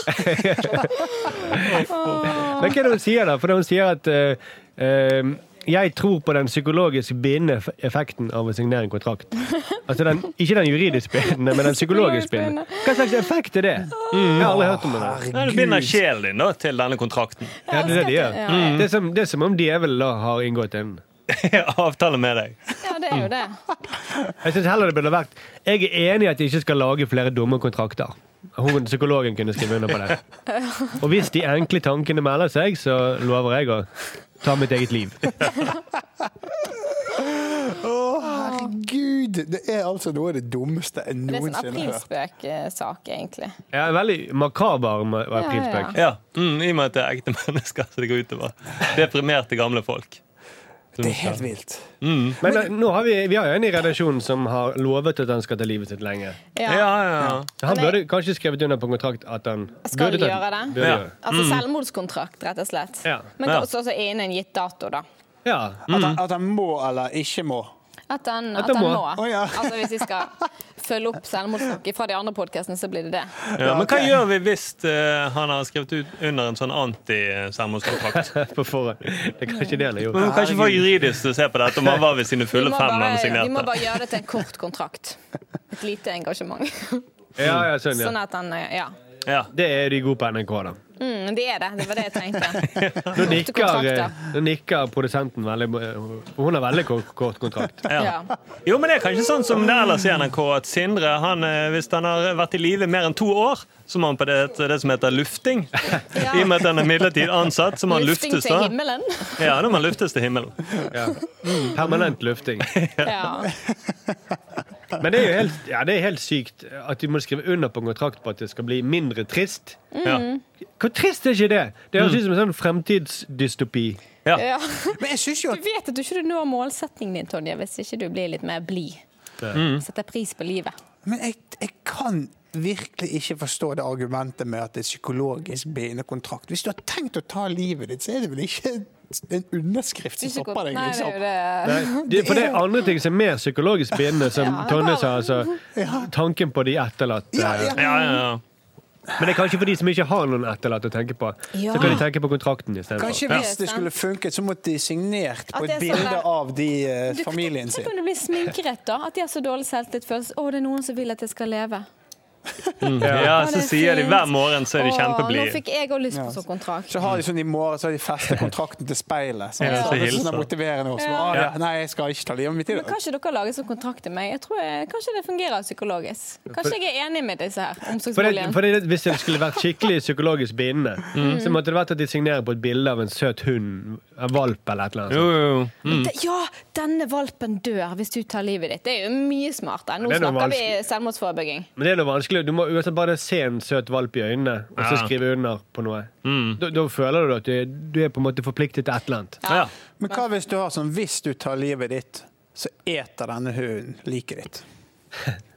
D: Men hva er det hun sier da? For hun sier at eh, eh, jeg tror på den psykologisk bindende f- effekten av å signere en kontrakt. Altså den, ikke den juridisk bindende, men den psykologisk bindende. Hva slags effekt er det? Mm, Jeg har aldri hørt om det.
E: Ja, Du binder sjelen din da, til denne kontrakten.
D: Ja, det er det de gjør.
F: Ja,
D: Det er som, det er som om djevelen da har inngått en
E: Avtale med deg.
F: Ja, det er jo det.
D: Jeg syns heller det burde vært Jeg er enig i at de ikke skal lage flere dumme kontrakter. Hun, psykologen kunne skrive under på det. Og hvis de enkle tankene melder seg, så lover jeg å ta mitt eget liv.
B: Å, herregud! Det er altså noe av det dummeste jeg
F: Det er sånn
B: noensinne har hørt.
F: aprilspøk-sak, egentlig.
D: Ja, en veldig makaber ma-
F: ja.
D: aprilspøk.
E: Ja, mm, I og med at det er ekte [LAUGHS] mennesker som det går utover. Deprimerte gamle folk.
B: Det er helt vilt.
D: Men eh, nå har vi, vi har jo en i redaksjonen som har lovet at han skal ta livet sitt lenge.
E: Ja, ja, ja.
D: Han
F: Men
D: burde kanskje skrevet under på en kontrakt at han
F: Skal
D: burde ta-
F: gjøre det?
D: Burde
E: Ja.
D: gjøre.
F: Altså selvmordskontrakt, rett og slett.
D: Ja.
F: Men
E: Ja.
F: også, også innen en gitt dato, da.
D: Ja. [LAUGHS]
B: At han, at han må eller ikke
F: [LAUGHS]
B: må.
F: At han,
D: At
F: at
D: han
F: han
D: må.
F: nå.
B: Å, ja.
F: [LAUGHS] Altså Hvis vi skal følge opp selvmordsnakket fra de andre podkastene, så blir det det.
E: Ja, men hva
B: ok.
E: gjør vi hvis eh, han har skrevet ut under en sånn anti-selvmordskontrakt?
D: På forhånd. Det er kanskje det han har gjort.
E: [LAUGHS] Men Vi kan ikke få juridisk til å se på dette om han var ved sine
F: Vi
E: fulle
F: må,
E: fem da
F: bare,
E: han
F: vi må
E: signerte.
F: bare gjøre det til en kort kontrakt. Et lite engasjement.
D: Ja, ja, sånn,
F: Sånn
D: ja.
F: at han eh, Ja.
E: Ja.
D: Det er de gode på NRK, da.
F: Mm, det er det. Det var det jeg tenkte.
D: Nå nikker,
F: kontrakter.
D: eh, nå nikker produsenten veldig eh, Hun har veldig kort, kort kontrakt.
E: [LAUGHS] Ja.
F: Ja.
E: Jo, men det er kanskje sånn som det ellers i NRK, at Sindre, han, eh, hvis han har vært i live mer enn to år, så må han på det, det som heter lufting.
F: [LAUGHS] Ja.
E: I og med at han er midlertidig ansatt, så må han
F: Lufting
E: luftes
F: til
E: da.
F: himmelen.
E: Ja, da må han luftes til himmelen.
D: Ja. Permanent lufting.
F: Ja.
D: Men det er jo helt, ja, det er helt sykt at du må skrive under på en kontrakt på at det skal bli mindre trist.
E: Ja.
F: Mm.
D: Hvor trist er ikke det? Det høres ut som en sånn fremtidsdystopi.
E: Ja.
F: ja.
B: Men jeg syns jo
F: Du
B: at
F: vet at du ikke når målsettingen din, Tonje, hvis ikke du blir litt mer blid. Setter pris på livet.
B: Men jeg, jeg kan virkelig ikke forstå det argumentet med at det er psykologisk bindende kontrakt. Hvis du har tenkt å ta livet ditt, så er det vel ikke en underskrift som
A: Ikke godt.
B: stopper deg,
A: Nei, det er
B: liksom.
A: jo det.
D: Nei, det, for det er andre ting som er mer psykologisk bindende, som
A: Ja.
D: Tonje sa. Altså, tanken på de etterlatte.
B: Ja, ja.
E: Ja, ja, ja.
D: Men det er kanskje for de som ikke har noen etterlatte å tenke på.
F: Ja.
D: Så kan de tenke på kontrakten istedenfor.
B: Kanskje
E: Ja.
B: hvis det skulle funket, så måtte de signert
A: At
B: på
A: det
B: et
A: er sånn
B: bilde
A: der-
B: av de eh,
A: Du,
B: familien sin.
A: Tenk om det blir sminkeret, da. At de har så dårlig selvtillitsfølelse. Å, det er noen som vil at jeg skal leve.
E: ja
A: Å,
E: så
A: det er
E: sier de
A: fint.
E: hver morgen så er de
F: Åh, Nå
E: kjempeblide.
F: fikk jeg òg lyst på sånn kontrakt.
B: Så har de sånn i morgen så har de festet kontrakten til speilet. sant?
E: Ja,
B: Så
E: så
B: det er
E: hilser.
B: sånn motiverende også. Ah, ja. Nei, jeg skal ikke ta livet mitt i
A: Men
B: dag.
A: Kanskje dere lager sånn kontrakt til meg? Jeg tror jeg, Kanskje det fungerer psykologisk? Kanskje jeg er enig med disse her?
D: For det,
A: Omsorgsboligen.
D: for det, hvis det skulle vært skikkelig psykologisk bindende, så måtte det vært at de signerer på et bilde av en søt hund, en valp eller et eller annet.
E: Jo,
D: sånt.
E: jo, jo.
A: Mm.
D: Mm.
F: Det- Ja, denne valpen dør hvis du tar livet ditt. Det er jo mye smartere. Nå
D: Det er noe
F: snakker vi selvmordsforebygging.
D: Men det er noe vanskelig. Du må uansett bare se en søt valp i øynene, og så
E: Ja. Mm.
D: skrive under på noe. Da, da føler du at du er, du er på en måte forpliktet til et eller annet.
E: Ja.
B: Men hva hvis du har sånn Hvis du tar livet ditt, så eter denne hunden liket ditt.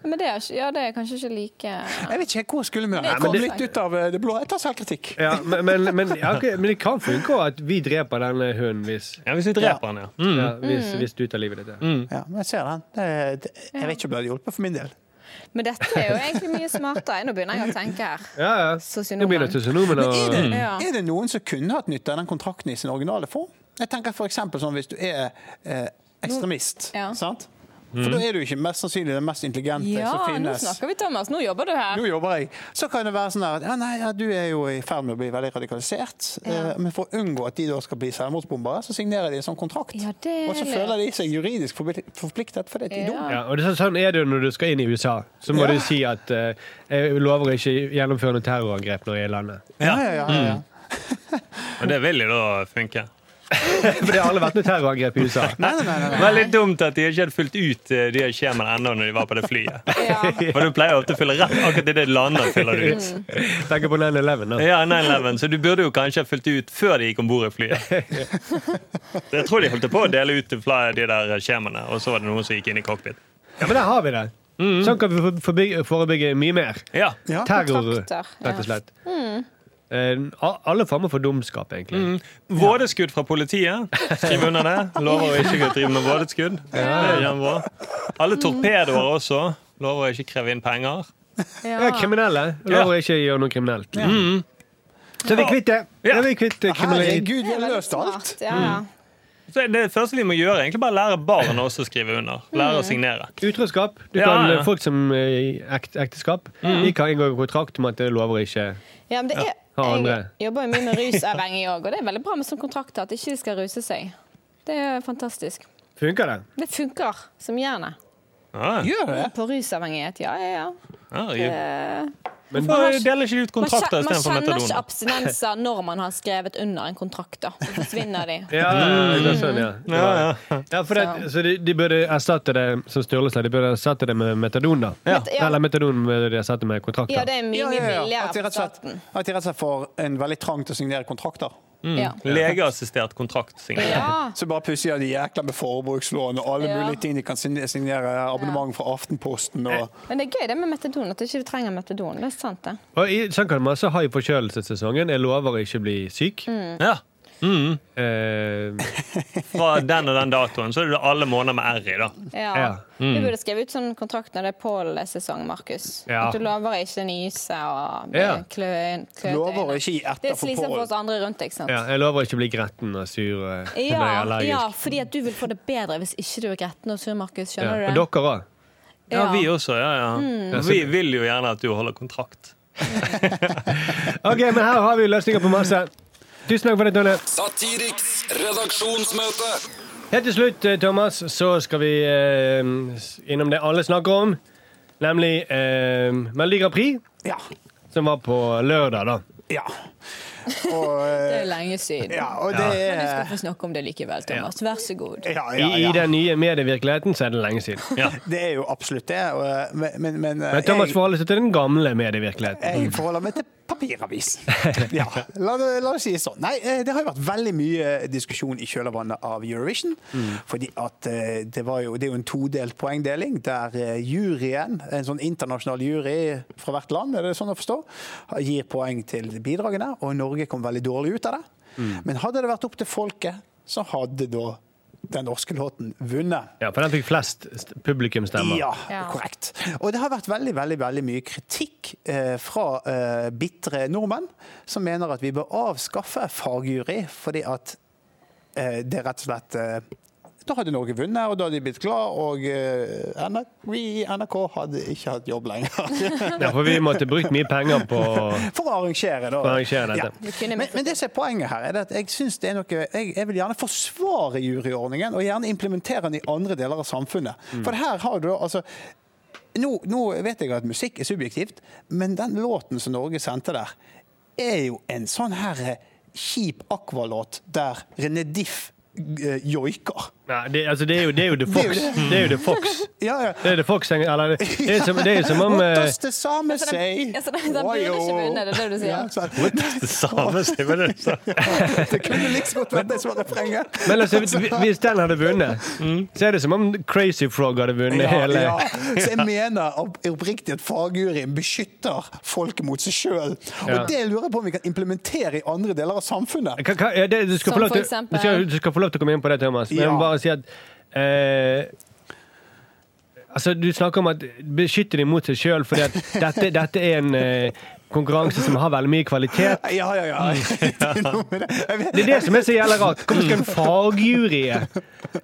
A: Men det er, ikke- ja, det er kanskje ikke like
B: Jeg vet ikke hvor jeg skulle med det.
A: Nei,
B: Kom
A: men
B: litt
A: det-
B: ut av eh, det blå. Jeg tar selvkritikk.
D: [LAUGHS] Ja, men, men, men, ja, ok, men det kan funke også at vi dreper denne hunden hvis,
E: ja, hvis vi dreper han, ja. Mm.
D: ja, hvis, hvis du tar livet ditt. Ja.
B: Ja, men jeg ser den. Det- det- Jeg vet ikke om det hadde hjulpet for min del.
F: Men dette er jo egentlig mye smartere. Nå begynner jeg å tenke her.
D: Ja, ja.
F: Sosionomen.
D: Nå blir det sosionomen
B: Men
D: og
A: Mm.
B: er det,
F: Ja.
B: er det noen som kunne hatt nytte av den kontrakten i sin originale form? Jeg tenker for eksempel sånn hvis du er eh, ekstremist,
A: Ja.
B: sant? For
A: Mm.
B: da er du ikke mest sannsynlig den mest intelligente som
A: Ja, nå
B: finnes.
A: snakker vi, Thomas. Nå jobber du
B: Nå
A: her.
B: jobber jeg. Så kan det være sånn der at ja, nei, ja, du er jo i ferd med å bli veldig radikalisert. eh, Men for å unngå at de da skal bli selvmordsbombere, så signerer de en sånn kontrakt.
A: Ja, det er
B: og så
A: lurt.
B: føler de seg juridisk forpli- forpliktet fordi de er dumme.
D: ja, og det, er sånn- Sånn er det jo når du skal inn i USA. Så må
B: Ja.
D: du si at eh, 'jeg lover å ikke gjennomføre noe terrorangrep når jeg er i landet'.
B: Ja, ja, ja,
A: Mm.
B: ja, ja.
E: Og det vil jo da funke.
D: For det har aldri vært noe terrorangrep i USA.
B: [LAUGHS] Nei, nei, nei, nei.
E: Veldig dumt at de ikke hadde fylt ut eh, de skjemaene ennå når de var på det [LAUGHS] flyet.
A: Ja.
E: For du pleier ofte å fylle rett akkurat i det landet. fyller du ut.
D: Tenker på 9-11, da.
E: Ja, 9-11, Så du burde jo kanskje ha fylt ut før de gikk om bord i flyet. Jeg tror de holdt på å dele ut til flere av de der skjemaene, og så var det noen som gikk inn i cockpit.
D: Ja, men der har vi det.
E: Mm.
D: Sånn kan vi for- forby- forebygge mye mer.
E: Ja.
B: Ja. Mm.
D: Terror,
A: kontrakter, ja.
D: rett og slett. Eh, a- alle former for dumskap, egentlig.
E: Mm. Vådeskudd fra politiet. Skriv under det. Lover å ikke drive med vådeskudd. Det er kjempebra. Alle torpedoer også. Lover å ikke kreve inn penger.
D: Ja, [LAUGHS] kriminelle. La henne ikke gjøre noe kriminelt. Mm. Så vi er kvitt det.
E: Ja.
D: Ja. vi er kvitt eh, kriminalitet.
B: Herregud, vi
A: Det er
B: har
A: veldig
B: løst alt! Mm.
A: smart, Ja, ja.
E: Så det første vi må gjøre, er egentlig bare lære barn også å skrive under.
F: Mm.
E: Lære å signere.
D: Utroskap. Du
E: Ja,
D: kan,
E: ja.
D: eh, Folk som er i ekt, ekteskap De kan inngå kontrakt om at det lover ikke
F: Ja, men det er,
D: Ha andre.
F: jeg jobber jo mye med rusavhengige òg, og det er veldig bra med sånne kontrakter. At ikke de skal ruse seg. Det er fantastisk.
D: Funker det?
F: Det funker som jernet.
E: Ja,
B: Gjør det?
F: På rusavhengighet, ja, ja, ja.
E: ja, ja.
D: Men
E: Hvorfor deler ikke de ut
F: Eh, Man, kje-
E: kontrakter
F: man
E: istedenfor
F: kjenner ikke
E: metadon?
F: abstinenser når man har skrevet under en kontrakt, da. Så
B: [LAUGHS]
F: forsvinner de.
D: Ja, det er sånn, ja.
E: Ja,
D: ja for det, så de, de burde erstatte det som Sturle sa, de burde erstatte det med metadon, da.
F: ja.
D: Eller metadon burde de erstatte med kontrakter.
F: Ja, det er mye
B: Ja,
F: mye
B: ja, ja.
F: billigere
B: At de
F: på
B: rett og slett,
F: staten.
B: at de rett og slett får en veldig trang til å signere kontrakter.
F: Ja.
E: Legeassistert kontraktsignering.
F: ja.
B: Så bare pusser de jækla med forbrukslån og alle
F: Ja.
B: mulige ting de kan sign- signere. Abonnement fra Aftenposten og
F: Men det er gøy det med metadon, at ikke du trenger metadon. Det er sant, det.
D: Og i, sånn kan man også ha i forkjølelsessesongen. Jeg lover å ikke bli syk.
F: Mm.
E: Ja.
D: Eh,
E: Fra den og den datoen så er det alle måneder med R i. da.
F: Ja.
D: Ja.
B: Mm.
F: Du burde skrevet ut sånn kontrakt når det er pollensesong, Markus.
D: Ja.
F: At du lover å ikke nyse og bli
D: Ja.
F: klø kløete.
B: lover å
F: øyne.
B: ikke gi
F: Det
B: etter
F: er
B: for
F: slitsomt for oss
B: pål.
F: andre rundt, ikke sant?
D: ja, jeg lover å ikke bli gretten og sur eh, når jeg er
F: Ja,
D: allergisk.
F: ja, fordi at du vil få det bedre hvis ikke du er gretten og sur, Markus.
D: Ja.
F: Skjønner
D: Og
F: du det?
D: dere òg.
E: Ja, vi også. ja, ja.
F: Mm.
E: Vi vil jo gjerne at du holder kontrakt.
D: Ok, men her har vi løsninger på masse. Tusen takk for det, Tonje.
C: Satiriks redaksjonsmøte.
D: Helt til slutt, eh, Thomas, så skal vi eh, innom det alle snakker om. Nemlig eh, Melodi Grand Prix,
B: Ja.
D: som var på lørdag, da.
B: ja. Og,
F: [LAUGHS]
B: eh,
F: Det er lenge siden.
B: ja, og det er
F: Vi får snakke om det likevel, Thomas. Vær så god.
B: ja,
D: I,
B: ja,
D: I
B: ja.
D: den nye medievirkeligheten så er det lenge siden.
E: Ja.
B: Det er jo absolutt det. og, Men, men, men, eh,
D: Men Thomas
B: jeg- Eh.
D: forholder seg til den gamle medievirkeligheten.
B: Jeg forholder meg til papiravis. Ja, la det, la det sies sånn. Nei, eh, det har jo vært veldig mye diskusjon i kjølvannet av Eurovision. Fordi at eh, det, var jo, det er jo en todelt poengdeling, der eh, juryen, en sånn internasjonal jury fra hvert land, er det sånn å forstå, gir poeng til bidragene, og Norge kom veldig dårlig ut av det. Men hadde det vært opp til folket, så hadde da den norske låten vunnet.
D: Ja, for den fikk flest st- publikumstemmer.
B: Ja,
F: Ja.
B: korrekt. Og det har vært veldig veldig, veldig mye kritikk eh, fra eh, bitre nordmenn som mener at vi bør avskaffe fagjury fordi at eh, det er rett og slett eh, da hadde Norge vunnet, og da hadde de blitt glad, og eh, NR vi i NRK hadde ikke hatt jobb lenger. [LAUGHS]
D: Ja, for vi måtte brukt mye penger på
B: For å arrangere, da.
D: For å arrangere dette.
B: Ja.
F: Vi kunne
B: Men, men det som er poenget her, er det at jeg synes det er noe jeg, jeg vil gjerne forsvare juryordningen, og gjerne implementere den i andre deler av samfunnet.
D: Mm.
B: For her har du da altså nå, nå vet jeg at musikk er subjektivt, men den låten som Norge sendte der, er jo en sånn her eh, kjip akvalåt der René Diff eh, joiker.
D: Nei, det, altså, det er jo det, er jo The Fox. Det er jo The Fox.
B: Ja, ja.
D: Det er The Fox eller, det, det, er som, det er jo som
B: [LAUGHS]
D: om
B: What
D: eh,
B: does the same
A: den-
B: say?
A: ja, så den- den burde
B: Oi,
A: ikke
B: jo.
A: vunnet, det er det du sier.
B: Ja, så-
E: Det samme sier vi det. sa.
B: [LAUGHS] det kunne like så godt vært det som var refrenget.
D: Men altså, hvis- hvis den hadde vunnet, så er det som om Crazy Frog hadde vunnet hele
B: Mm. Ja, ja. Så jeg mener opp- oppriktig at fagjuryen beskytter folket mot seg sjøl. Og
D: Ja.
B: det lurer jeg på om vi kan implementere i andre deler av samfunnet.
D: Hva- hva- ja, det, du, skal
A: Som
D: få lov
A: for
D: til,
A: eksempel-
D: du, skal, du skal få lov til å komme inn på det, Thomas. Men jeg
B: Ja.
D: må bare si at eh, Altså, Du snakker om at beskytte dem mot seg sjøl, fordi at dette, dette er en eh, konkurranse som har veldig mye kvalitet.
B: Ja, ja, ja. [LAUGHS] Det er noe med det. Jeg vet-
D: Det er det som er så jævla rart. Hvorfor skal en fagjury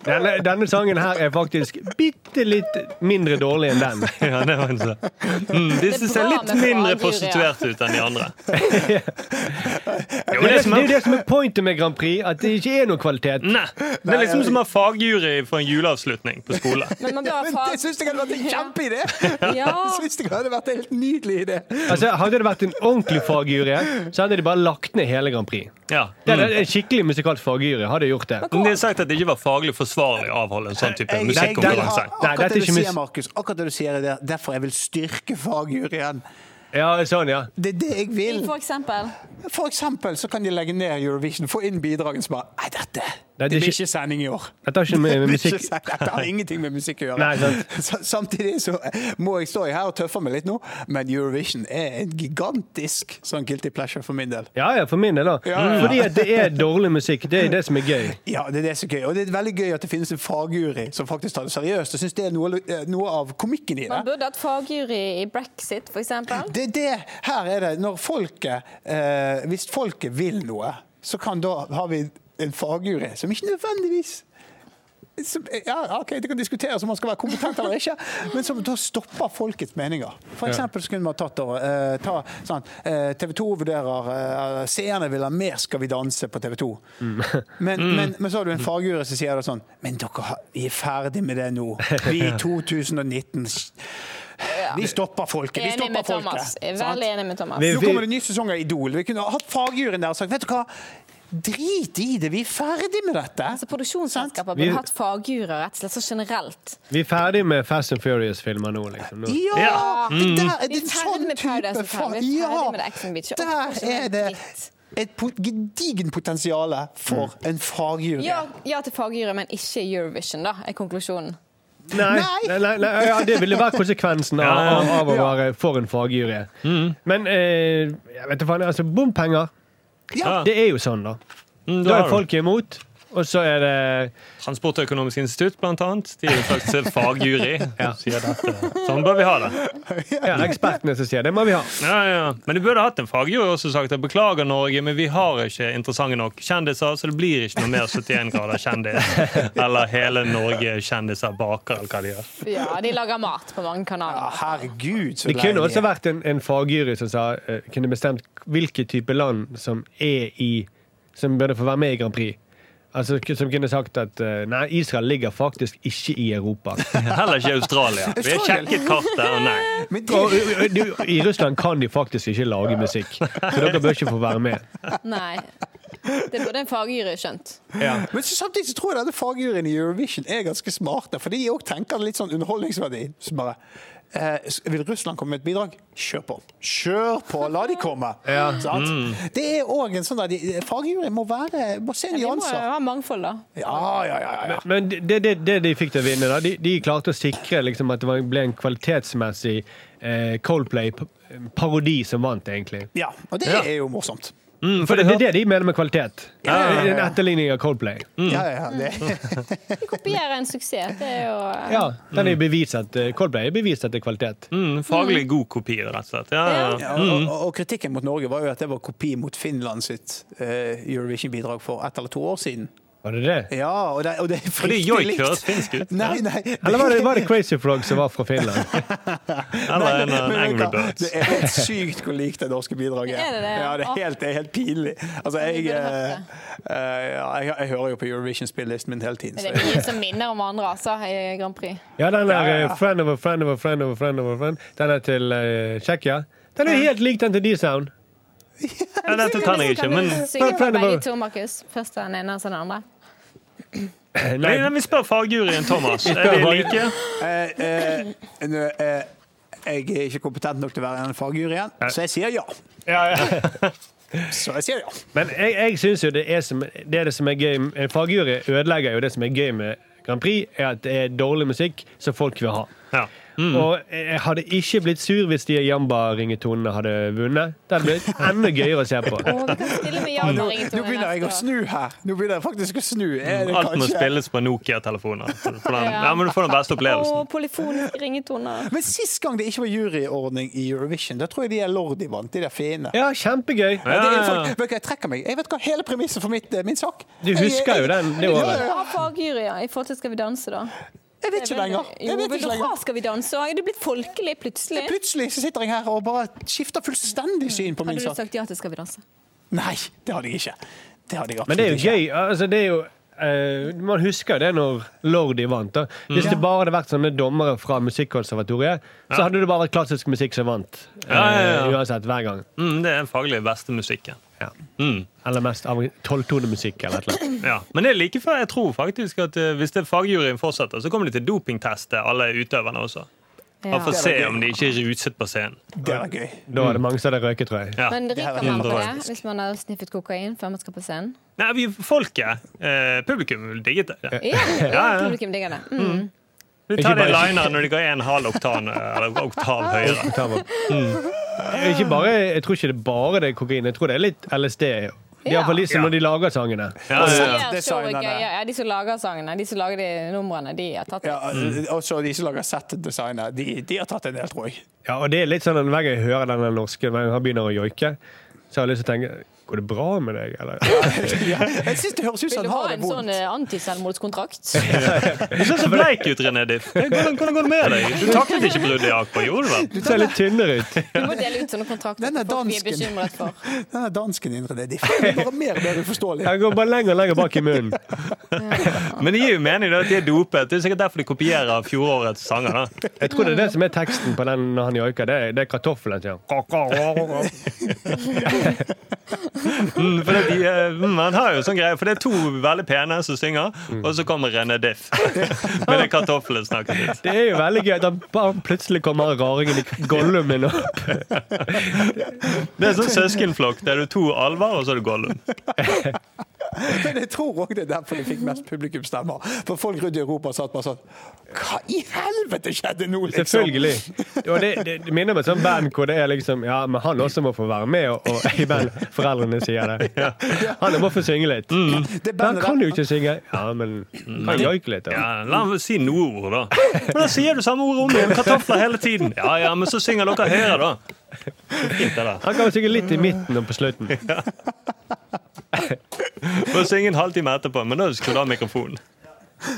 D: denne, denne sangen her er faktisk bitte litt mindre dårlig enn den.
E: [LAUGHS] Ja, det var en sånn. Mm,
A: Det er
E: disse ser
A: bra
E: litt
A: med
E: mindre
A: fagjury, ja.
E: prostituerte ut enn de andre.
D: Det er det som er, det er, det som er pointet med Grand Prix, at det ikke er noe kvalitet.
E: Nei, Det er liksom som å ha fagjury for en juleavslutning på skole.
A: Men man bør
B: Men
A: ha
B: det syns jeg hadde vært en kjempeidé!
A: Ja.
B: [LAUGHS] Jeg synes det hadde vært en helt nydelig idé.
D: Altså, Hadde det vært en ordentlig fagjury, så hadde de bare lagt ned hele Grand Prix.
E: Ja. mm.
D: Det er en skikkelig musikalsk fagjury hadde gjort det.
E: Men De har sagt at det ikke var faglig forsvarlig å avholde en sånn type
B: Jeg- jeg- jeg har
E: musikkonkurranse.
D: Nei,
B: Akkurat
D: dette er
B: det du
D: ikke
B: sier,
D: mus-
B: Markus. Akkurat det du sier er der- derfor jeg vil styrke fagjuryen.
D: Ja, sånn, ja.
B: Det er det jeg vil.
A: For eksempel.
B: For eksempel så kan de legge ned Eurovision, få inn bidragene som bare Nei, dette det
D: Nei, det er
B: blir
D: ikke-
B: ikke sending i år. [LAUGHS]
D: Dette har ikke med
B: Det er
D: musikk
B: ikke sant. Dette har ingenting med musikk å gjøre.
D: Nei, sant.
B: Sa- Samtidig [LAUGHS] så eh, må jeg stå her og tøffe meg litt nå, men Eurovision er en gigantisk sånn guilty pleasure for min del.
D: Ja, ja, for min del, da.
B: Ja, ja.
D: Fordi at det er dårlig musikk. Det er det som er gøy.
B: Ja, det er det som er gøy. Og det er veldig gøy at det finnes en fagjury som faktisk tar det seriøst. Jeg syns det er noe, eh, noe av komikken i det.
A: Man burde hatt fagjury i brexit, for eksempel.
B: Det er det her er det. Når folket eh, Hvis folket vil noe, så kan da har vi en fagjury som ikke nødvendigvis som, ja, ok, Det kan diskuteres om man skal være kompetent eller ikke, men som da stopper folkets meninger. For eksempel så kunne man tatt og, eh, ta sånn, TV 2 vurderer eh, Seerne vil ha mer 'Skal vi danse' på TV 2.
D: Mm.
B: Men, men, men så har du en fagjury som sier det sånn 'Men dere, har- vi er ferdig med det nå. Vi
D: [LAUGHS]
B: er i 2019. Vi stopper folket. Vi
A: Enig
B: stopper
A: med Thomas.
B: folket.
A: Jeg er
B: sant?
A: Veldig enig med Thomas.
D: Vi-
B: Nå kommer det ny sesong av Idol. Vi kunne hatt fagjuryen der og sagt vet du hva, drit i det, vi er ferdig med dette.
A: Altså, Produksjonsselskaper
D: Vi-
A: burde hatt fagjurer rett og slett så generelt.
D: Vi er ferdig med Fast and Furious-filmer nå, liksom. Nå.
B: Ja!
E: Ja.
D: Mm.
B: Det, der, er
A: Vi er
B: det en
A: ferdig
B: sånn
A: med
B: type
A: Paradise Hotel.
B: fa-
A: Vi er ferdig
B: Ja,
A: med det Action Beach. Åh,
B: der
A: så mye
B: er det
A: dritt.
B: et po- gedigen potensial for
D: Mm.
B: en fagjury.
A: Ja, ja til fagjury, men ikke Eurovision, da, er konklusjonen.
B: Nei.
D: Nei, nei, nei, nei ja, Det ville vært konsekvensen av,
E: Ja,
D: av,
E: Mm. ja.
D: av å være for en fagjury. Men eh, jeg vet da faen, altså, bompenger
B: Ja.
D: Det er jo sånn, da.
E: Mm, da
D: Da
E: har
D: er
E: du
D: folk imot, og så er det
E: Transportøkonomisk institutt, blant annet. De er jo faktisk fagjury.
D: [LAUGHS] Ja.
E: Sier dette. Sånn bør vi ha det.
D: ja, ekspertene som sier det må vi ha.
E: Ja, ja. Men de burde hatt en fagjury også sagt at beklager, Norge, men vi har ikke interessante nok kjendiser, så det blir ikke noe mer 71 grader kjendis eller hele Norge kjendiser baker, eller hva de gjør.
A: Ja, de lager mat på mange
B: Ja,
A: kanaler.
B: Herregud, så
D: Det kunne
B: lei
D: også vært en, en fagjury som sa, eh, kunne bestemt hvilke type land som er i Som burde få være med i Grand Prix. Altså, k- som kunne sagt at eh, nei, Israel ligger faktisk ikke i
E: [LAUGHS]
D: Europa.
E: Heller ikke Australia. Vi har sjekket kartet, og nei.
B: Men det-
D: Og, ø, ø, du, I Russland kan de faktisk ikke lage musikk, så dere bør ikke få være med.
A: Nei. Det burde en fagjury skjønt.
B: Men så samtidig så tror jeg denne fagjuryen i Eurovision er ganske smarte, for de òg tenker litt sånn underholdningsverdi. Så bare, eh, s- vil Russland komme med et bidrag? Kjør på! Kjør på! La de
D: [LAUGHS]
B: komme! Sant?
D: Mm.
B: Det er òg en sånn der de- Fagjuryen må være må se
A: Vi må jo
B: nyanser.
A: ha mangfold, da.
B: Ja, ja, ja. ja.
D: Men det, det, det de fikk til å vinne, da, de, de klarte å sikre liksom, at det var- ble en kvalitetsmessig eh, Coldplay-parodi eh, som vant, egentlig.
B: ja og det
E: Ja.
B: er jo morsomt.
E: Mm,
D: For det, det
E: hørte-
D: er det de mener med kvalitet.
E: Ja, ja, ja.
D: En etterligning av Coldplay.
B: Ja, ja, det.
A: Mm. Vi kopierer en suksess. Det er jo
D: Ja,
B: Mm.
D: den er bevist at, eh, Coldplay er bevist at det er kvalitet.
E: mm, faglig god kopi, rett og slett. Ja, ja.
B: [LAUGHS] Ja,
A: Mm.
B: og, og, og kritikken mot Norge var jo at det var kopi mot Finland sitt eh, Eurovision-bidrag for ett eller to år siden.
D: Var det det?
B: Ja, og det, og det er
E: Fordi
B: fryktelig
E: joik
B: likt.
E: høres finsk ut.
B: Nei, nei.
D: Eller var det, var det Crazy Frog som var
B: [LAUGHS]
D: fra Finland?
E: Eller en eh,
B: Men
E: en
B: vet du
E: Angry
B: hva?
E: Birds.
B: Det er helt sykt hvor likt det norske bidraget
A: Er det det?
B: Ja, det er helt, det er helt pinlig. Altså, jeg,
A: burde hørt
B: eh,
A: det.
B: eh, ja, jeg, jeg hører jo på Eurovision-spillelisten min hele tiden.
A: Det
B: Så
A: er mye som minner om andre, altså, i Grand Prix.
D: Ja, den
B: Ja, ja,
D: der
B: ja.
D: eh, Friend of a friend of a friend of a friend of a friend. Den er til eh, Tsjekkia. Den er jo helt lik den til D-Sound.
E: Ja, dette kan jeg ikke, men
A: Kan du synge for begge to, Markus? Først den ene, og så den andre.
E: Nei,
D: Nei,
E: nei, vi spør fagjuryen Thomas. Er de like?
B: Eh, eh, nå, eh, jeg er ikke kompetent nok til å være en fagjury igjen, så jeg sier ja. Så jeg sier ja.
D: [LAUGHS] Men jeg, jeg syns jo det er, som, det er det som er gøy En fagjury ødelegger jo det som er gøy med Grand Prix, er at det er dårlig musikk som folk vil ha.
E: Ja.
B: Mm.
D: Og jeg hadde ikke blitt sur hvis de jamba-ringetonene hadde vunnet. Det hadde blitt enda gøyere å se på.
B: [LAUGHS]
A: Å, vi kan stille med
B: Nå,
A: Hjalmar
B: nå begynner jeg
A: neste
B: å
A: år.
B: snu her. Nå begynner jeg faktisk å snu. Er det
E: Alt må
B: kanskje-
E: spilles på Nokia-telefoner. For den-
A: Ja.
E: Ja, men du får den beste
A: Og
E: opplevelsen.
A: polyfoniske ringetoner.
B: Men sist gang det ikke var juryordning i Eurovision, da tror jeg de er Lordi vant, de der fine.
D: Ja, kjempegøy.
B: Ja, det er
E: Ja.
B: folk- vet du hva, jeg trekker meg. Jeg vet hva hele premisset for mitt, eh, min sak.
D: Du husker jo den, det året.
A: Bra fagjuryer i forhold til Skal vi danse, da.
B: Jeg vet ikke lenger.
A: Jo,
B: Jeg vet
A: vil
B: ikke
A: du ha
B: lenger.
A: Skal vi danse? Og Er du blitt folkelig plutselig?
B: Plutselig så sitter jeg her og bare skifter fullstendig syn på min
A: Hadde Mm. du
B: sak.
A: sagt ja til Skal vi danse?
B: Nei, det hadde jeg ikke. Det hadde jeg
D: Men det er
B: absolutt
D: jo
B: ikke.
D: gøy. Altså, det er jo, eh, man husker jo det når Lordi vant. Da. Hvis det bare hadde vært sånne dommere fra Musikkonservatoriet, så hadde det bare vært klassisk musikk som vant. eh,
E: Ja, ja, ja.
D: uansett, hver gang.
E: Mm, det er den faglig beste musikken.
D: Ja.
E: Mm.
D: Eller mest av- tolvtonemusikk eller et eller annet.
E: Ja. Men det er like før jeg tror faktisk at eh, hvis det fagjuryen fortsetter, så kommer de til dopingteste, alle utøverne også. Og får se om de ikke er ruset på scenen.
B: Det var gøy.
D: Da var det mange som hadde røyket, tror jeg.
E: Ja.
A: Men
B: det her
A: ryker
B: er
A: man på det
E: fantastisk.
A: hvis man har sniffet kokain før man skal på scenen?
E: Nei, vi, folket, eh, publikum, digget det.
A: Ja, ja, publikum digger det. Mm.
E: De tar
D: Ikke
E: det
D: bare-
E: liner når de går en halv oktan, eh, eller oktav høyere.
D: Ta med.
E: Mm.
D: Eh, Ikke bare, jeg tror ikke det er bare det er kokain, jeg tror det er litt LSD. I
A: Ja.
D: hvert fall litt som når de lager sangene.
E: Ja,
B: Og
E: ja,
B: så-
E: ja.
A: Ja, Sånn showet
B: Designerne.
A: gøy. Ja, de som lager sangene, de som lager de numrene, de har tatt det.
B: Ja,
D: Mm.
B: og så de som lager set-designer, de, de har tatt en del, tror jeg.
D: Ja, og det er litt sånn at Hver gang jeg hører den norske, hver gang han begynner å joike, så har jeg lyst til å tenke Går det bra med deg, eller?
B: Ja, jeg syns det høres ut som
A: Vil du
B: han
A: ha
B: har det
A: en sånn
B: vondt.
A: eh, [LAUGHS] antiselvmordskontrakt?
E: Du ser så bleik ut, René Diff. Hvordan hvordan går det med deg? Du taklet ikke bruddet i Akbar, gjorde du vel?
D: Du ser litt tynnere ut.
A: Vi må dele ut sånne kontrakter
B: Den er
A: til folk vi er
B: dansken.
A: bekymret [LAUGHS] for.
B: Den der dansken indre, det de er
D: [LAUGHS]
B: bare mer og mer uforståelig.
D: Jeg går bare lenger og lenger bak i munnen.
E: Men det gir jo mening da, at de er dopet. Det er sikkert derfor de kopierer fjorårets sanger. da.
D: Jeg tror det er det som er teksten på den når han joiker. Det er, det er kartoffelen, sier han.
E: Mm, for det, de, eh, mm, han har jo sånn greie, for det er to veldig pene som synger, og så kommer René Diff. [LAUGHS] Med det kartoffelet snakket litt.
D: Det er jo veldig gøy. Da bare plutselig kommer raringen i gollumen opp.
E: Det er sånn søskenflokk. Der du er to alver, og så er det Gollum.
B: Men jeg tror òg det er derfor de fikk mest publikumsstemmer. For folk rundt i Europa satt bare sånn Hva i helvete skjedde nå, liksom?
D: Selvfølgelig. Og det, det, det minner meg om et sånt band hvor det er liksom Ja, men han også må få være med og, og i band. Foreldrene sier det. Han må få synge litt.
B: Mm. Det
D: Men han
B: bandet
D: kan
B: der-
D: jo ikke synge. Ja, men han joiker litt. Da.
E: Ja, la ham si noe ord, da. [LAUGHS] Men da sier du samme ord om igjen. Kartofler hele tiden. Ja, ja, men så synger dere høyere, da. Det er Fint, det der.
D: Han kan jo synge litt i midten og på slutten.
E: Må synge en halvtime etterpå, men da skrur du av mikrofonen.
B: [LAUGHS]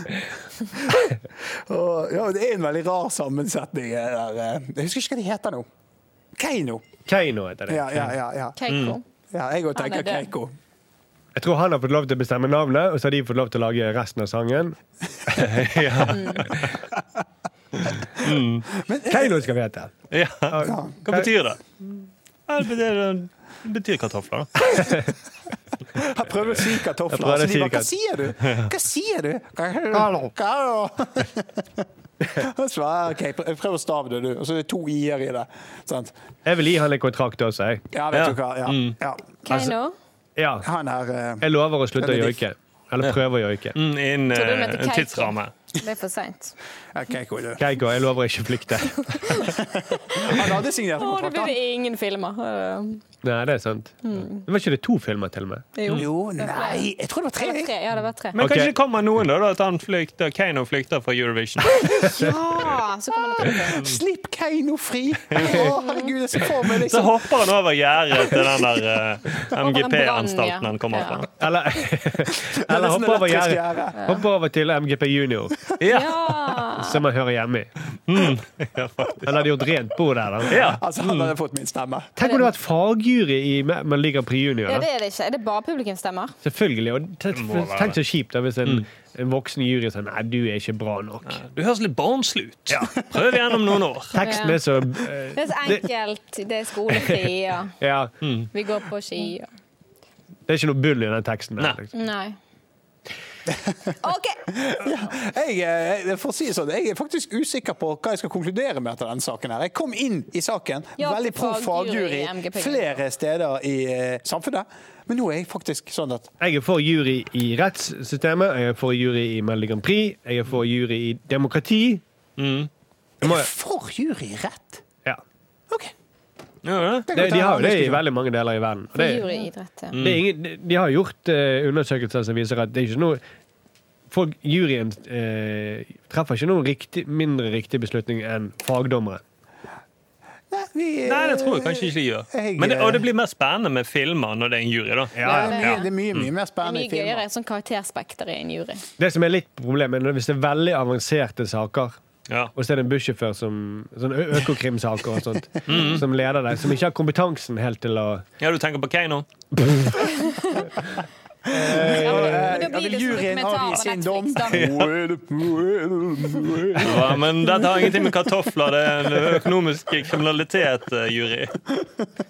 B: Og, ja, det er en veldig rar sammensetning. eh, Der. eh. Jeg husker ikke hva de heter nå. Keiino.
D: Keiino heter det.
B: Ja, ja, ja, ja.
A: Keiko.
B: ja jeg òg
A: Han er
B: tenker
A: død.
B: Keiko.
D: Jeg tror han har fått lov til å bestemme navnet, og så har de fått lov til å lage resten av
B: [LAUGHS]
D: sangen.
B: Men eh,
D: Keiino Mm. skal vi hete.
E: Ja.
B: ja.
E: Hva betyr det? Ja, Det betyr, det betyr kartofler, da.
B: jeg prøver å si
D: Jeg
B: kartofler.
D: prøver å
B: Så
D: si
B: de bare, hva
D: kart-
B: sier du? Hva sier du? [LAUGHS]
D: Kalo.
B: Kalo. Og så, ah, ok, prøv- Prøv å stave det, du. Og så er det to i-er i det. Sant?
D: Jeg vil gi han en kontrakt også, jeg.
B: Ja, vet
E: Ja. Mm.
B: du hva. Ja. ja.
A: Keino.
D: Ja.
B: Han er eh,
D: Jeg lover å slutte å
B: Eller
D: joike. Eller prøve å joike.
E: Mm, Innen
A: Tror du den
E: eh,
A: heter
E: en
A: Keiko?
E: tidsramme.
A: Det er for seint.
B: ja, Keiko. er død.
D: Keigo,
B: [LAUGHS]
D: jeg lover å ikke flykte.
B: Han hadde signert
A: Å, det
B: kontrakt.
A: blir
B: han.
A: det ingen filmer. Eh,
D: Nei, det er sant.
B: Mm.
D: Det var ikke det to filmer til og med?
A: Jo.
B: Jo, nei, jeg tror
A: Det
B: det var
A: var
B: tre.
A: tre. Ja, det var tre.
E: Men
D: Ok.
E: kanskje det kommer noen, da? da at han flykter, Kano flykter fra Eurovision.
A: Ja, så kommer det tre.
B: Slipp Keiino fri! Å, herregud, jeg ser for meg
E: Så
B: liksom
E: hopper han over gjerdet til den der eh,
A: brann,
E: MGP-anstalten
A: ja.
E: han kommer fra.
A: Ja.
D: Eller, [LAUGHS] eller
B: sånn
D: hoppe over
B: elektrisk
D: gjerdet.
B: gjerde.
D: Hoppe over til MGP Junior,
E: Ja,
A: Ja.
D: som han hører hjemme i.
E: ja, faktisk.
D: Han hadde gjort rent bord der. Da.
E: Mm. ja.
B: Altså, han hadde fått min stemme.
D: Tenk om du hadde vært fagjury i Man ligger på junior.
A: ja,
D: Da.
A: det er det ikke. Er det bare publikumsstemmer?
D: Selvfølgelig. Og tenk,
E: må være
D: tenk så kjipt da, hvis en,
A: Mm.
D: en voksen jury sier nei, du er ikke bra nok.
E: Du høres litt barnslig ut. Prøv igjen om noen år.
D: Teksten
A: Ja.
D: er så eh,
A: Det er så enkelt. Det er skolefri, ja.
D: Ja,
A: Vi går på ski. Ja.
D: det er ikke noe bull i den teksten. Der,
E: Nei.
D: liksom.
A: Nei. [LAUGHS] OK!
B: Jeg, eh, jeg, får si det sånn, jeg er faktisk usikker på hva jeg skal konkludere med etter denne saken. her. Jeg kom inn i saken,
A: Ja,
B: veldig pro
A: fagjury
B: fagjury,
A: i MGP.
B: flere steder i eh, samfunnet. Men nå er jeg faktisk sånn at
D: Jeg er for jury i rettssystemet, jeg er for jury i Melodi Grand Prix, jeg er for jury i demokrati.
A: Mm.
B: jeg er for juryrett.
D: Ja.
B: Ok.
E: Ja, det.
D: Det, de har jo det i veldig mange deler i verden. Og det,
A: Gjorde idrett, ja.
D: det er ingen, de- de har gjort eh, undersøkelser som viser at det er ikke noe folk, Juryen eh, treffer ikke noen riktig, mindre riktig beslutning enn fagdommere.
B: Nei, vi, eh,
E: Nei, det tror jeg kanskje ikke de gjør. Men det, og det blir mer spennende med filmer når det er en jury, da.
B: det, er mye, det er mye,
E: Mm.
B: mye mer
A: Det er
B: spennende i
A: mye gøyere
B: filmer.
A: sånn karakterspekter i en jury.
D: Det som er litt problemet, er hvis det er veldig avanserte saker,
E: Ja.
D: og så er det en bussjåfør som sånn ø- Økokrimsaker og sånt, som leder deg, som ikke har kompetansen helt til å
E: ja, du tenker på Kano?
A: men da
B: Ja,
A: blir
B: eh, vil
A: det sånn
B: juryen
A: dokumentar
B: avgi
A: på
B: sin dom?
A: Netflix, da.
E: Ja, men dette har ingenting med kartofler, det er en økonomisk eh, kriminalitet-jury.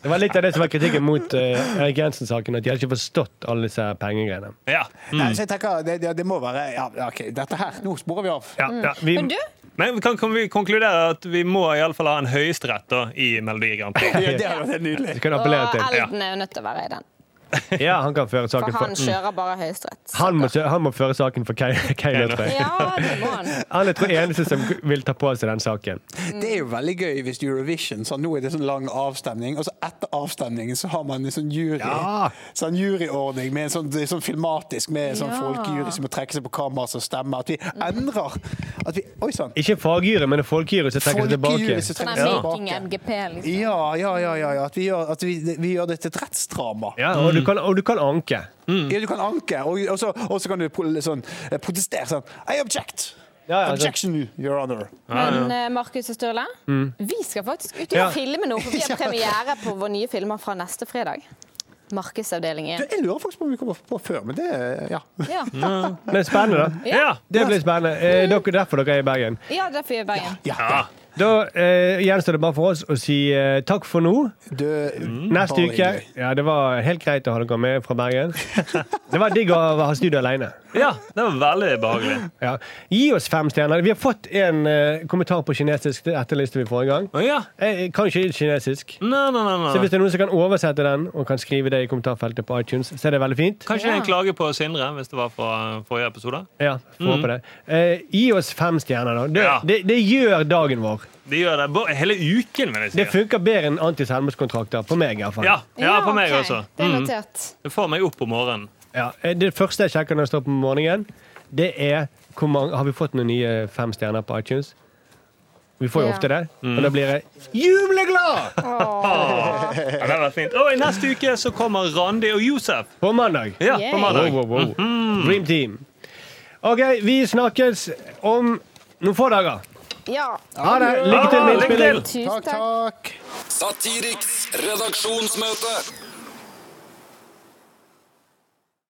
D: Det var litt av det som var kritikken mot eh, Erik Jensen-saken, at de hadde ikke forstått alle disse pengegreiene.
E: Ja.
B: Nei, så jeg tenker, det, det, det må være ja, OK, dette her. Nå sporer vi av.
D: Ja, ja, vi,
A: Men du,
E: Mm. Men vi kan, kan vi konkludere at vi må i alle fall ha en høyesterett da, i Melodi Grand Prix?
B: Ja, [LAUGHS] det hadde vært helt nydelig.
D: vi
A: og
D: kan appellere til.
A: Elden er jo nødt til å være i den.
D: Ja, han kan føre saken
A: For han
D: for
A: kjører bare Høyesterett.
D: han må, kjø- han må føre saken for Kei- Kei Løtberg.
A: Ja, det må han.
D: Han er tror jeg eneste som vil ta på seg den saken.
A: Mm.
B: Det er jo veldig gøy hvis Eurovision sånn, Nå er det sånn lang avstemning, og så etter avstemningen så har man en sånn jury
D: Ja.
B: Sånn juryordning med en sånn, det er sånn filmatisk med en sånn
A: Ja.
B: folkejury som må trekke seg på kamera som stemmer. At vi endrer at vi, Oi sann!
D: Ikke fagjury, men en folkejury som trekker seg
B: Folkejury som
D: tilbake.
A: Sånn
B: trekker
A: er
B: seg
A: making
B: tilbake.
A: MGP, liksom.
B: Ja, ja, ja. ja, ja. At, vi gjør, at vi, vi gjør det til et rettsdrama.
D: Ja, og, du kan, og du kan anke. Mm.
B: Ja, du kan anke, og, og, så, og så kan du pro, sånn, eh, protestere sånn I object!
D: Ja, ja, det-
B: Objection, your honor.
A: Men eh, Markus og Sturle, vi skal faktisk ut og
D: Ja.
A: filme nå, for vi har premiere på våre nye filmer fra neste fredag. Markedsavdeling 1.
B: Jeg lurer faktisk på om vi kommer på før, men det Ja.
D: Mm.
A: Ja,
D: Men spennende, da.
E: Ja.
D: Det blir spennende. Eh, dere, derfor dere er i Bergen.
A: ja derfor er vi i Bergen.
E: ja.
D: Da eh, gjenstår det bare for oss å si eh, takk for nå.
B: Du,
D: Neste
B: bare
D: uke
B: hyggelig.
D: Ja, det var helt greit å ha dere med fra Bergen. Det var digg å ha studio alene.
E: ja, det var veldig behagelig.
D: Ja. Gi oss fem stjerner. Vi har fått en eh, kommentar på kinesisk. Det etterlyste vi forrige gang.
E: Å, Ja.
D: Eh, kanskje kinesisk.
E: Nei, nei, nei,
D: Så
E: nei.
D: hvis det er noen som kan oversette den og kan skrive det i kommentarfeltet på iTunes, så er det veldig fint.
E: Kanskje det er en klage på Sindre, hvis det var fra forrige episode.
D: Ja, får håpe det. Eh, gi oss fem stjerner, da. Det,
E: Mm. Ja.
D: det, det gjør dagen vår.
E: De gjør det bo- hele uken, vil jeg
D: Det
E: si.
D: funker bedre enn antiselmskontrakter. På meg, iallfall.
E: Ja, ja, på meg
A: ok.
E: også.
A: Det er notert.
E: Det får meg opp om morgenen.
D: Ja, eh, det første jeg sjekker når jeg står opp om morgenen, det er hvor mange, Har vi fått noen nye fem stjerner på iTunes? Vi får jo
A: Ja.
D: ofte det.
E: Mm.
D: Og da blir jeg jubleglad!
E: [LAUGHS] Ja, det var fint. Og i neste uke så kommer Randi og Josef.
D: På mandag.
E: Ja,
A: Yay.
E: på mandag. Mm-hmm.
D: Wow, wow, wow. Dream Team. OK, vi snakkes om noen få dager.
A: Ja.
D: Ha det. Lykke til med
E: Lykke
D: innspilling.
E: til!
A: Tusen
B: Takk,
A: takk.
B: takk.
C: Satiriks redaksjonsmøte.